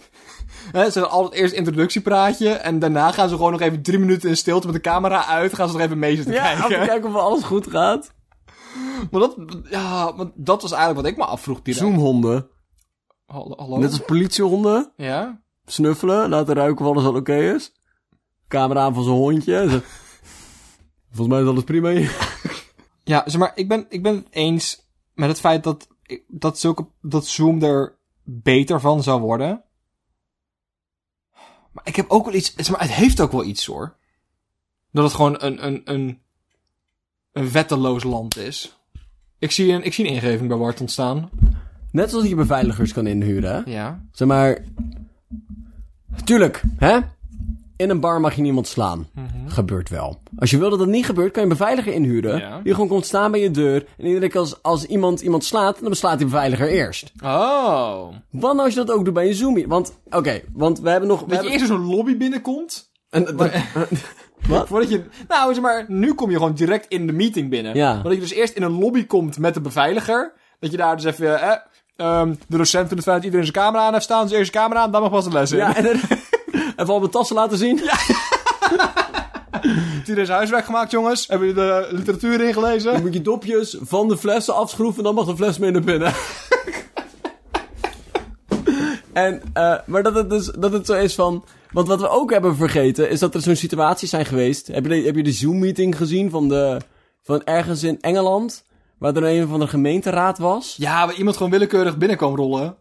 B: Hè, ze hebben altijd eerst een introductiepraatje en daarna gaan ze gewoon nog even drie minuten in stilte met de camera uit, gaan ze nog even mee zitten
A: Ja, om te
B: kijken.
A: kijken of alles goed gaat.
B: Maar dat, ja, want dat was eigenlijk wat ik me afvroeg direct.
A: Zoomhonden.
B: Hallo? hallo?
A: Net als politiehonden.
B: Ja?
A: snuffelen, laten ruiken of alles al oké is. Camera aan van zijn hondje. Zo. Volgens mij is alles prima hier.
B: Ja, zeg maar, ik ben, ik ben het eens met het feit dat, dat, zulke, dat Zoom er beter van zou worden. Maar ik heb ook wel iets, zeg maar, het heeft ook wel iets hoor. Dat het gewoon een, een, een, een wetteloos land is. Ik zie een, ik zie een ingeving bij Wart ontstaan.
A: Net zoals je beveiligers kan inhuren, hè?
B: Ja.
A: Zeg maar... Tuurlijk, hè? In een bar mag je niemand slaan. Gebeurt wel. Als je wil dat dat niet gebeurt, kan je een beveiliger inhuren.
B: Ja.
A: Die gewoon komt staan bij je deur. En iedere keer als, als iemand iemand slaat, dan slaat die beveiliger eerst.
B: Oh.
A: Want als je dat ook doet bij een zoomie. Want, oké, want we hebben nog... We
B: Dat je
A: hebben,
B: eerst in zo'n lobby binnenkomt.
A: een- Wat?
B: Voordat je, nou, zeg maar, nu kom je gewoon direct in de meeting binnen.
A: Ja.
B: Maar dat je dus eerst in een lobby komt met de beveiliger. Dat je daar dus even, eh, ehm, de docent vindt het fijn dat iedereen zijn camera aan heeft staan. Dus eerst zijn camera aan, dan mag pas de les in.
A: ja, en dan- Even al mijn tassen laten zien.
B: Heeft iedereen zijn huiswerk gemaakt, jongens? Hebben jullie de literatuur ingelezen?
A: Dan moet je dopjes van de flessen afschroeven, dan mag de fles mee naar binnen. en, eh, maar dat het, dus, dat het zo is van... Want wat we ook hebben vergeten, is dat er zo'n situaties zijn geweest. Heb je, de- heb je de Zoom-meeting gezien van, de, van ergens in Engeland? Waar er een van de gemeenteraad was?
B: Ja, waar iemand gewoon willekeurig binnen kwam rollen.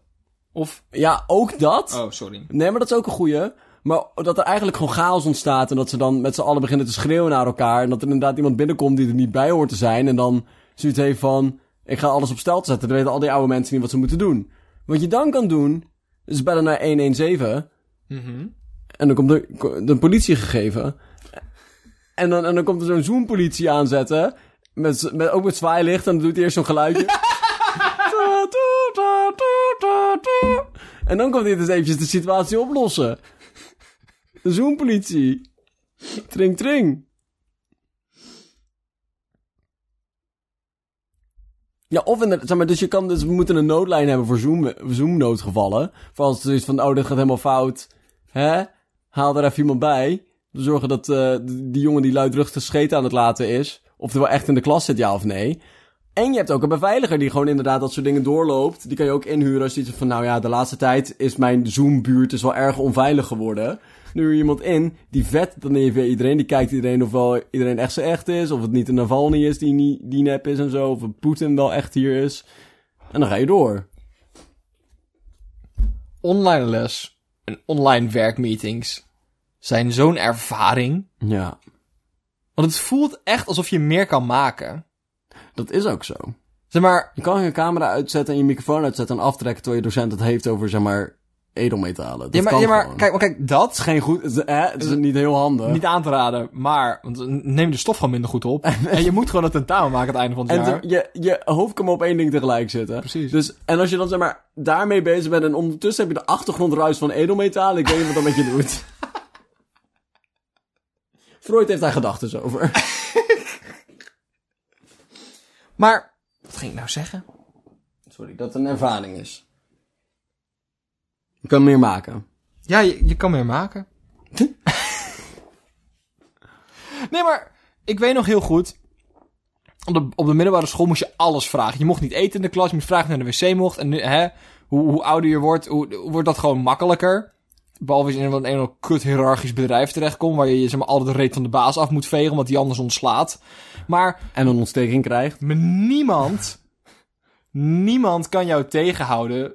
B: Of...
A: Ja, ook dat.
B: Oh, sorry.
A: Nee, maar dat is ook een goeie. Maar dat er eigenlijk gewoon chaos ontstaat en dat ze dan met z'n allen beginnen te schreeuwen naar elkaar. En dat er inderdaad iemand binnenkomt die er niet bij hoort te zijn. En dan zoiets heeft van, ik ga alles op stel te zetten. Dan weten al die oude mensen niet wat ze moeten doen. Wat je dan kan doen, is bellen naar 117.
B: Mhm.
A: En dan komt de, de politie gegeven. En dan, en dan komt er zo'n Zoom-politie aanzetten. Met, z- met, ook met zwaailicht. En dan doet hij eerst zo'n geluidje. Ta, ta, ta, ta, ta, ta. En dan komt hij dus eventjes de situatie oplossen. De Zoom-politie. Tring, tring. Ja, of inderdaad, zeg maar, dus je kan, dus we moeten een noodlijn hebben voor Zoom, Zoom-noodgevallen. Voor als het is van, oh, dit gaat helemaal fout. Hè? Haal er even iemand bij. We zorgen dat eh, die die jongen die luidruchtig scheet aan het laten is, of er wel echt in de klas zit, ja of nee. En je hebt ook een beveiliger die gewoon inderdaad dat soort dingen doorloopt. Die kan je ook inhuren als je iets hebt van, nou ja, de laatste tijd is mijn Zoom-buurt is wel erg onveilig geworden. Nu huur je iemand in, die vet dan even iedereen, die kijkt iedereen of wel iedereen echt zo echt is, of het niet een Navalny is die, niet, die nep is en zo, of Poetin wel echt hier is. En dan ga je door.
B: Online les en online werkmeetings zijn zo'n ervaring.
A: Ja,
B: Want het voelt echt alsof je meer kan maken.
A: dat is ook zo.
B: Zeg maar,
A: Je kan je camera uitzetten en je microfoon uitzetten en aftrekken terwijl je docent het heeft over, zeg maar, edelmetalen. Dat
B: ja, maar,
A: kan
B: ja, maar
A: gewoon.
B: kijk, maar kijk, dat
A: Het is geen goed, het is, hè, het is niet heel handig.
B: niet aan te raden, maar want dan neem je de stof gewoon minder goed op. en je moet gewoon een tentamen maken aan het einde van het
A: en
B: jaar.
A: te- je, je hoofd kan maar op één ding tegelijk zitten.
B: Precies.
A: Dus, en als je dan zeg maar daarmee bezig bent en ondertussen heb je de achtergrondruis van edelmetalen, ik weet niet wat dat met je doet. Freud heeft daar gedachten over.
B: Maar, wat ging ik nou zeggen?
A: Sorry, dat het een ervaring is. Je kan meer maken.
B: Ja, je, je kan meer maken. nee, maar ik weet nog heel goed. Op de, op de middelbare school moest je alles vragen. Je mocht niet eten in de klas, je moest vragen naar de wc mocht. En nu, hè, hoe, hoe ouder je wordt, hoe, hoe wordt dat gewoon makkelijker. Behalve als je in een, een of ander kut hiërarchisch bedrijf terechtkomt... waar je je, zeg maar, altijd de reet van de baas af moet vegen... omdat die anders ontslaat. Maar
A: En een ontsteking krijgt.
B: maar niemand, niemand kan jou tegenhouden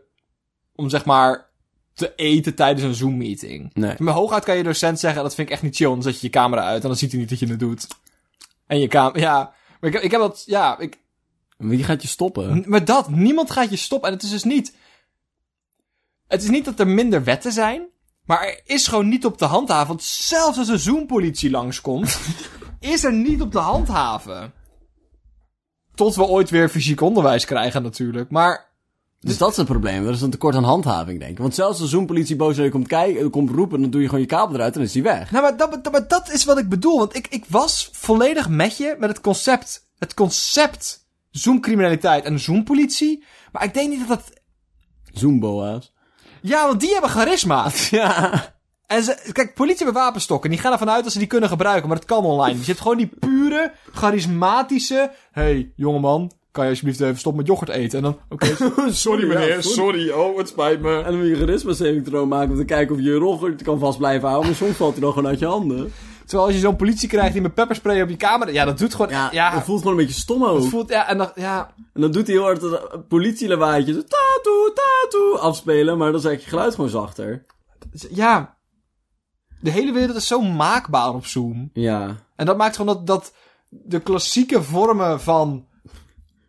B: om zeg maar te eten tijdens een Zoom-meeting.
A: Nee.
B: Maar hooguit kan je docent zeggen, dat vind ik echt niet chill, dan zet je je camera uit en dan ziet hij niet dat je het doet. En je camera, ja. Maar ik, heb- ik heb dat, ja, ik,
A: Wie gaat je stoppen?
B: N- Maar dat, niemand gaat je stoppen. En het is dus niet... Het is niet dat er minder wetten zijn. Maar er is gewoon niet op te handhaven. Want zelfs als de Zoom-politie langskomt... is er niet op te handhaven. Tot we ooit weer fysiek onderwijs krijgen natuurlijk. Maar
A: Dus dat is het probleem. Er is een tekort aan handhaving, denk ik. Want zelfs als zo'n politie boos naar je komt, kijken, komt roepen, dan doe je gewoon je kabel eruit en dan is die weg.
B: Nou, maar dat, dat- maar dat is wat ik bedoel. Want ik, ik was volledig met je met het concept. Het concept Zoom-criminaliteit en Zoom-politie. Maar ik denk niet dat dat...
A: Zoomboa's.
B: Ja, want die hebben charisma.
A: Ja.
B: En ze, kijk, politie hebben wapenstokken. Die gaan ervan uit dat ze die kunnen gebruiken, maar het kan online. Je hebt gewoon die pure, charismatische... hey, jongeman, kan je alsjeblieft even stoppen met yoghurt eten? En dan, oké,
A: Sorry meneer,
B: sorry, oh, het spijt me.
A: En dan moet je charisma-selectroom maken om te kijken of je je rogger kan vast blijven houden. Maar soms valt hij dan gewoon uit je handen.
B: Terwijl als je zo'n politie krijgt die met pepperspray op je camera... Ja, dat doet gewoon... Ja,
A: Dat voelt gewoon een beetje stom ook.
B: het voelt... Ja, en dan, ja,
A: En dan doet hij heel hard dat politielawaaitje. Zo tatoe, tatoe afspelen. Maar dan is eigenlijk je geluid gewoon zachter.
B: ja... de hele wereld is zo maakbaar op Zoom.
A: Ja.
B: En dat maakt gewoon dat, dat de klassieke vormen van...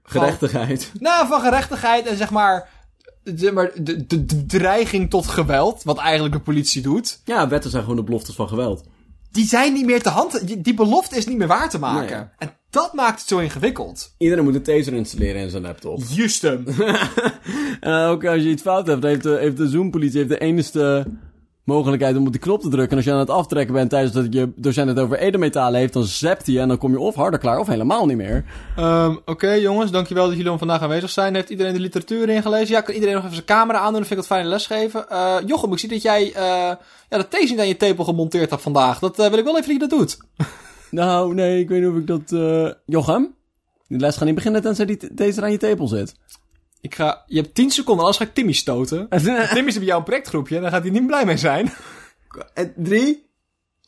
A: Gerechtigheid.
B: Nou, van gerechtigheid en zeg maar... De, maar de, de, de dreiging tot geweld, wat eigenlijk de politie doet...
A: Ja, wetten zijn gewoon de beloftes van geweld.
B: Die zijn niet meer te hand... die- Die belofte is niet meer waar te maken.
A: Nee.
B: En dat maakt het zo ingewikkeld.
A: Iedereen moet een taser installeren in zijn laptop.
B: Justum.
A: En ook als je iets fout hebt, heeft de, heeft de Zoom-politie heeft de enige mogelijkheid om op die knop te drukken. En als je aan het aftrekken bent tijdens dat je docent het over edelmetalen heeft, dan zept hij en dan kom je of harder klaar of helemaal niet meer.
B: Ehm, Oké, jongens, dankjewel dat jullie om vandaag aanwezig zijn. Heeft iedereen de literatuur ingelezen? Ja, kan iedereen nog even zijn camera aandoen? Dan vind ik het fijn lesgeven. Eh Jochem, ik zie dat jij eh, ja, de thees niet aan je tepel gemonteerd hebt vandaag. Dat eh, wil ik wel even dat je dat doet.
A: Nou, nee, ik weet niet of ik dat... eh, Jochem? Die les gaat niet beginnen tenzij die t- taser aan je tepel zit.
B: Ik ga, je hebt 10 seconden, anders ga ik Timmy stoten.
A: Eh,
B: Timmy is bij jou een projectgroepje, daar gaat hij niet blij mee zijn.
A: En drie,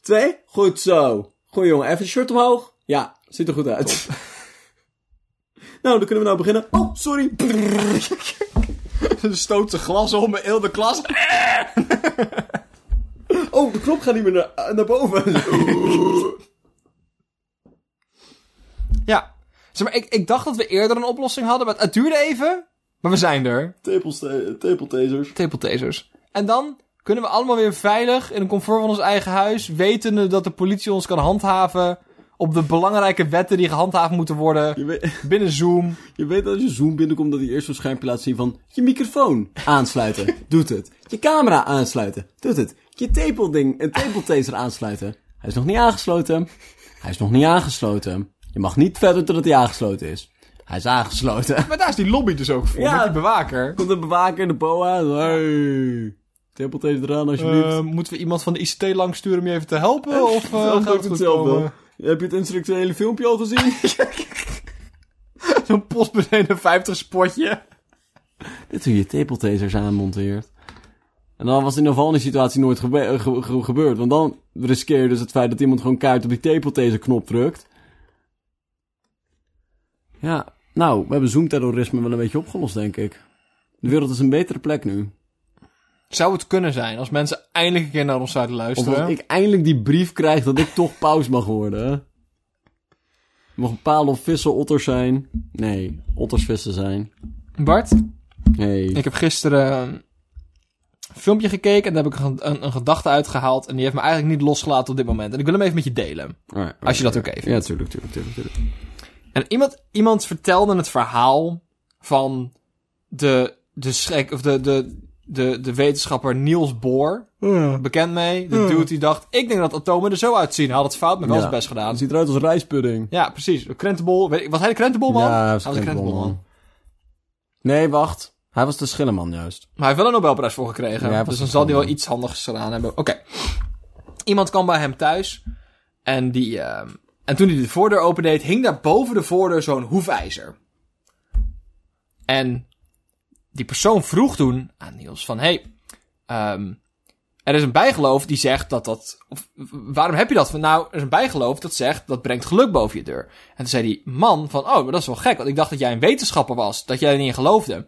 A: twee, goed zo. Goed jongen, even shirt omhoog. Ja, ziet er goed uit. nou, dan kunnen we nou beginnen. Oh, sorry.
B: Ze stoot zijn glas om bij heel de klas.
A: Oh, de knop gaat niet meer naar, naar boven.
B: Ja, zeg maar, ik, ik dacht dat we eerder een oplossing hadden, maar het, het duurde even. Maar we zijn er.
A: Tepeltasers.
B: Tepeltasers. En dan kunnen we allemaal weer veilig in een comfort van ons eigen huis, wetende dat de politie ons kan handhaven op de belangrijke wetten die gehandhaafd moeten worden
A: Je weet,
B: binnen Zoom.
A: je weet dat als je Zoom binnenkomt dat hij eerst zo'n schermpje laat zien van... Je microfoon aansluiten, doet het. Je camera aansluiten, doet het. Je tepelding, een tepeltaser aansluiten. Hij is nog niet aangesloten. Hij is nog niet aangesloten. Je mag niet verder totdat hij aangesloten is. Hij is aangesloten.
B: Maar daar is die lobby dus ook voor,
A: Ja.
B: met die bewaker.
A: Komt de bewaker in de boa. Hey, tepeltaser eraan alsjeblieft.
B: Eh, moeten we iemand van de ICT lang sturen om je even te helpen? Of eh,
A: Dan
B: gaat
A: doe ik
B: het goed komen?
A: Heb je het instructionele filmpje al gezien?
B: Zo'n postbus 51 spotje.
A: Dit hoe je tepeltasers aanmonteert. En dan was het in een volgende situatie nooit gebe- eh, ge- ge- gebeurd. Want dan riskeer je dus het feit dat iemand gewoon kaart op die tepeltaser knop drukt. Ja, nou, we hebben zoomterrorisme wel een beetje opgelost, denk ik. De wereld is een betere plek nu.
B: Zou het kunnen zijn als mensen eindelijk een keer naar ons zouden
A: Of
B: luisteren?
A: als ik eindelijk die brief krijg dat ik toch paus mag worden. hè? Mag een paal of vissen otters zijn? Nee, otters vissen zijn.
B: Bart,
A: Nee.
B: ik heb gisteren een filmpje gekeken en daar heb ik een, een, een gedachte uitgehaald. En die heeft me eigenlijk niet losgelaten op dit moment. En ik wil hem even met je delen.
A: Alright,
B: Als je dat
A: alright.
B: ook even-
A: Ja, tuurlijk, tuurlijk, tuurlijk. tuurlijk.
B: En iemand, iemand vertelde het verhaal van de, de, schrik, of de, de, de, de wetenschapper Niels Bohr. Bekend mee. De dude die dacht, ik denk dat atomen er zo uitzien. Hij had het fout, maar
A: Hmm.
B: wel
A: Ja.
B: zijn best gedaan.
A: Het ziet eruit als rijstpudding.
B: Ja, precies. Een Krentenbol. Weet ik, was hij de krentenbol, man?
A: Ja, hij was
B: een
A: de krentenbolman. Nee, wacht. Hij was de schilleman juist.
B: Maar hij heeft wel een Nobelprijs voor gekregen.
A: Ja, hij was
B: dus dan
A: een
B: zal hij wel
A: schande.
B: iets handigs gedaan hebben. Oké. Iemand kwam bij hem thuis. En, die, ehm, en toen hij de voordeur opendeed, hing daar boven de voordeur zo'n hoefijzer. En die persoon vroeg toen aan Niels van... Hey, ehm, er is een bijgeloof die zegt dat dat... Of, w- waarom heb je dat? Van, nou, er is een bijgeloof dat zegt dat brengt geluk boven je deur. En toen zei die man van... Oh, maar dat is wel gek, want ik dacht dat jij een wetenschapper was. Dat jij er niet in geloofde.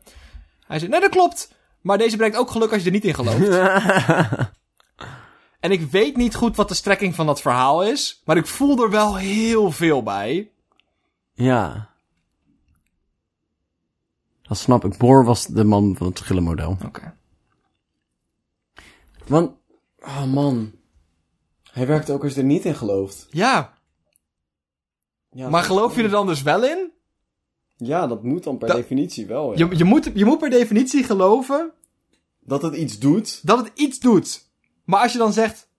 B: Hij zei, nee, dat klopt. Maar deze brengt ook geluk als je er niet in gelooft. en ik weet niet goed wat de strekking van dat verhaal is. Maar ik voel er wel heel veel bij.
A: Ja. Dat snap ik. Boor was de man van het schillenmodel.
B: Oké.
A: Want... Oh man. Hij werkt ook als je er niet in gelooft.
B: Ja,
A: Ja,
B: maar geloof je er dan dus wel in?
A: Ja, dat moet dan per
B: Dat-
A: definitie wel. ja.
B: Je, je, moet, je moet per definitie geloven
A: Dat het iets doet.
B: dat het iets doet. Maar als je dan zegt...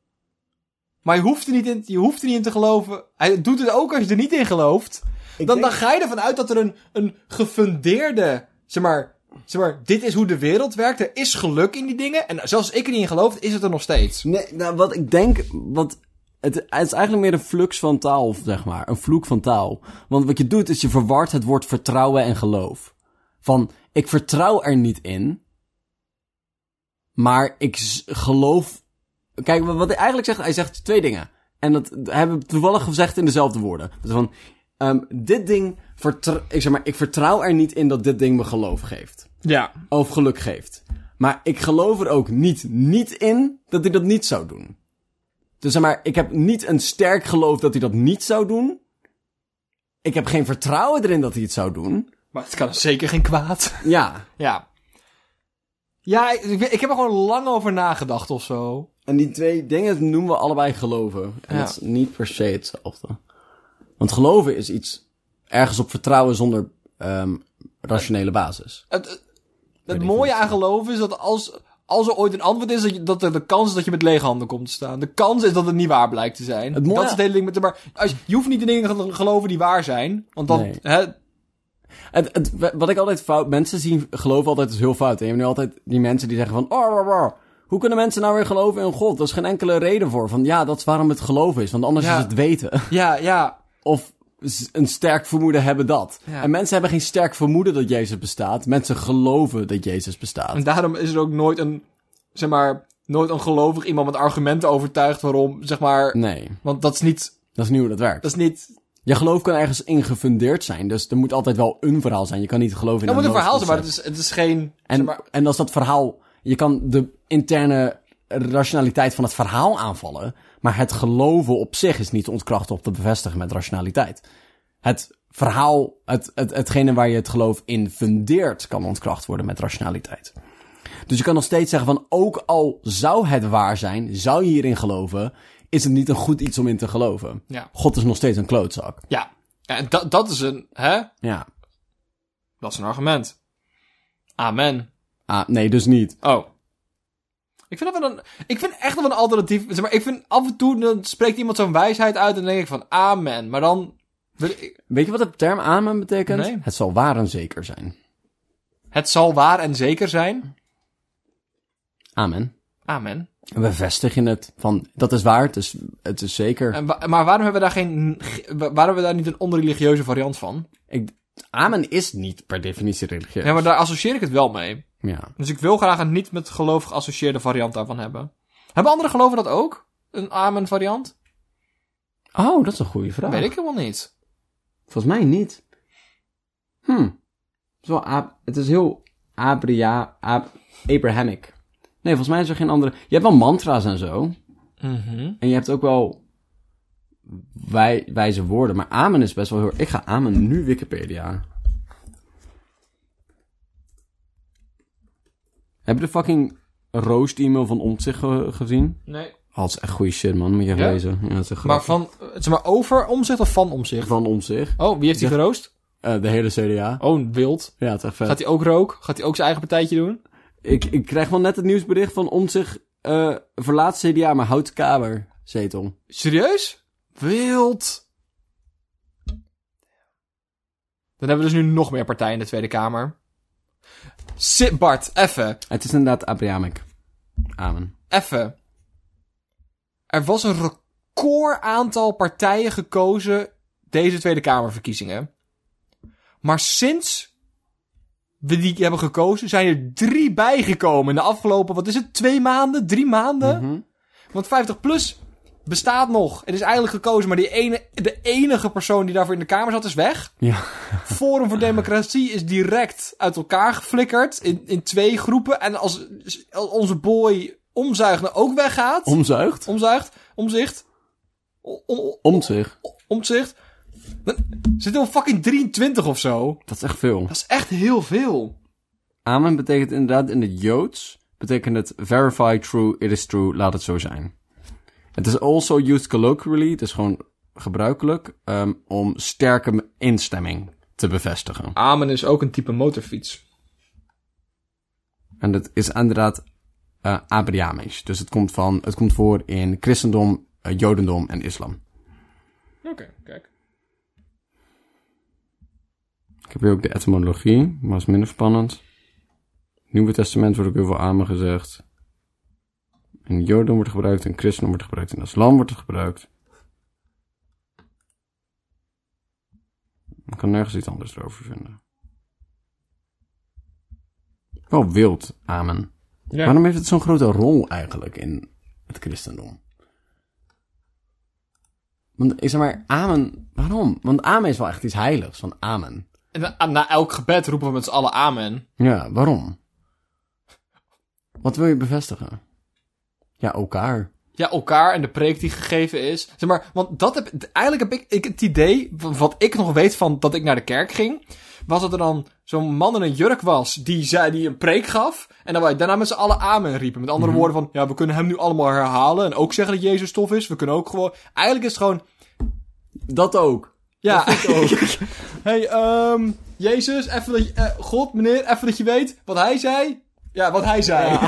B: Maar je hoeft er niet in, je hoeft er niet in te geloven. Hij doet het ook als je er niet in gelooft.
A: Ik
B: Dan,
A: denk-
B: dan ga je ervan uit dat er een, een gefundeerde... Zeg maar, zeg maar, dit is hoe de wereld werkt. Er is geluk in die dingen. En zelfs als ik er niet in geloof, is het er nog steeds.
A: Nee, nou, wat ik denk, wat, het, het is eigenlijk meer een flux van taal, zeg maar. Een vloek van taal. Want wat je doet, is je verwart het woord vertrouwen en geloof. Van, ik vertrouw er niet in, maar ik z- geloof... Kijk, wat hij eigenlijk zegt, hij zegt twee dingen. En dat hebben we toevallig gezegd in dezelfde woorden. Dus van, ehm, dit ding, vertr- ik zeg maar, ik vertrouw er niet in dat dit ding me geloof geeft
B: Ja.
A: of geluk geeft. Maar ik geloof er ook niet, niet in dat hij dat niet zou doen. Dus zeg maar, ik heb niet een sterk geloof dat hij dat niet zou doen. Ik heb geen vertrouwen erin dat hij het zou doen.
B: Maar het kan zeker geen kwaad.
A: Ja.
B: Ja. Ja, ik, ik weet- ik heb er gewoon lang over nagedacht of zo.
A: En die twee dingen noemen we allebei geloven. En
B: Ja.
A: dat is niet per se hetzelfde. Want geloven is iets ergens op vertrouwen zonder ehm, rationele basis.
B: Het, het- het
A: niet
B: mooie
A: hoe het
B: aan geloven is dat als, als er ooit een antwoord is, dat, je, dat er de kans is dat je met lege handen komt te staan. De kans is dat het niet waar blijkt te zijn.
A: Het mooie-
B: Dat is het hele ding met de. Maar als, je hoeft niet in dingen te geloven die waar zijn. Want dan.
A: Nee.
B: Hè,
A: Het, het- wat ik altijd fout... Mensen zien geloven altijd als heel fout. En je hebt nu altijd die mensen die zeggen van... Oh, oh, oh, Hoe kunnen mensen nou weer geloven in God? Er is geen enkele reden voor. Van ja, dat is waarom het geloven is. Want anders
B: Ja.
A: is het weten.
B: ja, ja.
A: Of s- een sterk vermoeden hebben dat.
B: Ja.
A: En mensen hebben geen sterk vermoeden dat Jezus bestaat. Mensen geloven dat Jezus bestaat.
B: En daarom is er ook nooit een. Zeg maar. Nooit een gelovig iemand met argumenten overtuigd waarom. Zeg maar.
A: Nee,
B: Want dat is niet.
A: dat is niet hoe dat werkt.
B: Dat is niet.
A: Je geloof kan ergens ingefundeerd zijn. Dus er moet altijd wel een verhaal zijn. Je kan niet geloven in
B: Dat moet een verhaal zijn, maar het
A: noodconcept.
B: is, het is geen.
A: En,
B: zeg maar,
A: en als dat verhaal... Je kan de interne rationaliteit van het verhaal aanvallen. Maar het geloven op zich is niet te ontkrachten of te bevestigen met rationaliteit. Het verhaal, het, het, hetgene waar je het geloof in fundeert, kan ontkracht worden met rationaliteit. Dus je kan nog steeds zeggen van, ook al zou het waar zijn, zou je hierin geloven, is het niet een goed iets om in te geloven.
B: ja.
A: God is nog steeds een klootzak.
B: Ja. En dat, dat is een. Hè?
A: Ja.
B: Dat is een argument. Amen.
A: Ah, nee, dus niet.
B: Oh. Ik vind, dat wel een, ik vind echt wel een alternatief. Zeg maar, ik vind af en toe dan spreekt iemand zo'n wijsheid uit en dan denk ik van amen. Maar dan. wil ik-
A: Weet je wat de term amen betekent?
B: Nee.
A: Het zal waar en zeker zijn.
B: Het zal waar en zeker zijn.
A: Amen.
B: Amen.
A: We bevestigen het van, dat is waar, het is, het is zeker.
B: En wa- maar waarom hebben we daar geen. ge- wa- Waarom hebben we daar niet een onreligieuze variant van?
A: Ik, amen is niet per definitie religieus.
B: Ja, maar daar associeer ik het wel mee.
A: Ja.
B: Dus ik wil graag een niet met geloof geassocieerde variant daarvan hebben. Hebben andere geloven dat ook? Een amen variant?
A: Oh, dat is een goede vraag.
B: Dat weet ik helemaal niet.
A: Volgens mij niet. Hm. Het is, wel ab- het is heel abria, ab- Abrahamic. Nee, volgens mij is er geen andere... Je hebt wel mantra's en zo.
B: Mhm.
A: En je hebt ook wel wij, wijze woorden. Maar amen is best wel heel... Ik ga amen nu Wikipedia. Heb je de fucking roast-e-mail van Omtzigt ge- gezien?
B: Nee.
A: Oh, dat is echt goede shit, man. Moet je
B: Ja?
A: lezen. Ja, dat is echt
B: Maar
A: grappig.
B: van. eh, Zeg maar over omzicht of van omzicht?
A: Van Omtzigt.
B: Oh, wie heeft hij
A: Zeg-
B: geroost?
A: Eh, de hele CDA.
B: Oh, wild.
A: Ja, het is echt vet.
B: Gaat hij ook rook? Gaat hij ook zijn eigen partijtje doen?
A: Ik, ik krijg wel net het nieuwsbericht van Omtzigt... eh verlaat CDA, maar houdt Kamerzetel.
B: Serieus? Wild. Dan hebben we dus nu nog meer partijen in de Tweede Kamer. Sit Bart, effe,
A: Het is inderdaad Abrahamic. Amen.
B: effe. Er was een record aantal partijen gekozen deze Tweede Kamerverkiezingen. Maar sinds we die hebben gekozen, zijn er drie bijgekomen in de afgelopen, wat is het, twee maanden, drie maanden?
A: Mhm.
B: Want 50 plus bestaat nog. Het is eigenlijk gekozen, maar die ene, de enige persoon die daarvoor in de Kamer zat is weg.
A: Ja.
B: Forum voor Democratie is direct uit elkaar geflikkerd in, in twee groepen. En als, als onze boy omzuigen ook weggaat,
A: Omzuigt.
B: omzuigt, omzicht, o- o-
A: Omtzigt.
B: o- omzicht, dan zitten we op fucking 23 of zo.
A: Dat is echt veel.
B: Dat is echt heel veel.
A: Amen betekent inderdaad in het Joods, betekent het verify true, it is true, laat het zo zijn. Het is also used colloquially, het is gewoon gebruikelijk, ehm, om sterke m- instemming te bevestigen.
B: Amen is ook een type motorfiets.
A: En dat is inderdaad eh Abrahamisch. Dus het komt, van, het komt voor in christendom, eh, jodendom en islam.
B: Oké, kijk.
A: Ik heb hier ook de etymologie, maar is minder spannend. Nieuwe Testament wordt ook heel veel amen gezegd. In Jodendom wordt gebruikt, in Christendom wordt gebruikt, in Islam wordt het gebruikt. Ik kan nergens iets anders erover vinden. Wel wild, amen.
B: Ja.
A: Waarom heeft het zo'n grote rol eigenlijk in het christendom? Want ik zeg maar, amen, waarom? Want amen is wel echt iets heiligs, van amen.
B: En na, na elk gebed roepen we met z'n allen amen.
A: Ja, waarom? Wat wil je bevestigen? Ja, elkaar.
B: ja, elkaar en de preek die gegeven is. Zeg maar, want dat heb, eigenlijk heb ik, ik het idee, van wat ik nog weet van dat ik naar de kerk ging, was dat er dan zo'n man in een jurk was die, zei, die een preek gaf. En dan wij daarna met z'n allen amen riepen. Met
A: Mhm.
B: andere woorden van, ja, we kunnen hem nu allemaal herhalen en ook zeggen dat Jezus tof is. We kunnen ook gewoon, eigenlijk is het gewoon,
A: Dat ook.
B: ja. hey, ehm, Jezus, even dat je, eh, God, meneer, even dat je weet wat hij zei. Ja, wat hij zei.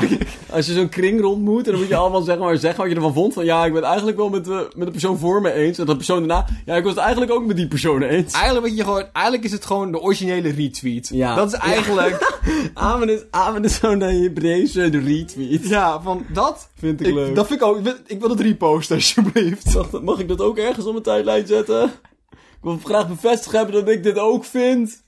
A: Als je zo'n kring rond moet, en dan moet je allemaal zeggen, maar zeggen wat je ervan vond. Van ja, ik ben het eigenlijk wel met, de- met de persoon voor me eens. En dat persoon daarna, ja, ik was het eigenlijk ook met die persoon eens.
B: Eigenlijk, weet je gewoon, eigenlijk is het gewoon de originele retweet.
A: Ja.
B: Dat is eigenlijk...
A: Amen is, amen is zo'n Hebreeuwse retweet.
B: Ja, van dat
A: Vind ik,
B: ik,
A: leuk.
B: Dat vind ik ook. Ik wil, ik wil het reposten, alsjeblieft.
A: Wacht, Mag ik dat ook ergens op mijn tijdlijn zetten? Ik wil graag bevestigd hebben dat ik dit ook vind.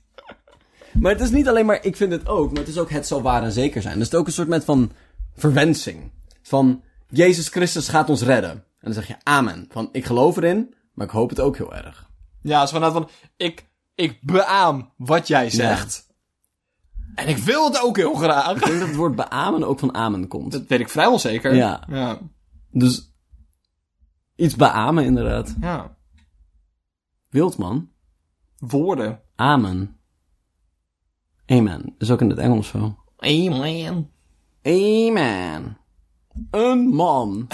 A: Maar het is niet alleen maar ik vind het ook, maar het is ook het zal waar en zeker zijn. Dus het is ook een soort met van verwensing. Van Jezus Christus gaat ons redden. En dan zeg je amen. Van ik geloof erin, maar ik hoop het ook heel erg.
B: Ja, het is vanuit van, ik, ik beaam wat jij zegt. En ik wil het ook heel graag.
A: Ik denk dat het woord beamen ook van amen komt.
B: Dat weet ik vrijwel zeker.
A: Ja.
B: Ja.
A: Dus iets beamen inderdaad.
B: ja.
A: Wild man.
B: Woorden.
A: Amen. Amen. Is ook in het Engels zo.
B: Amen.
A: Amen. Een man.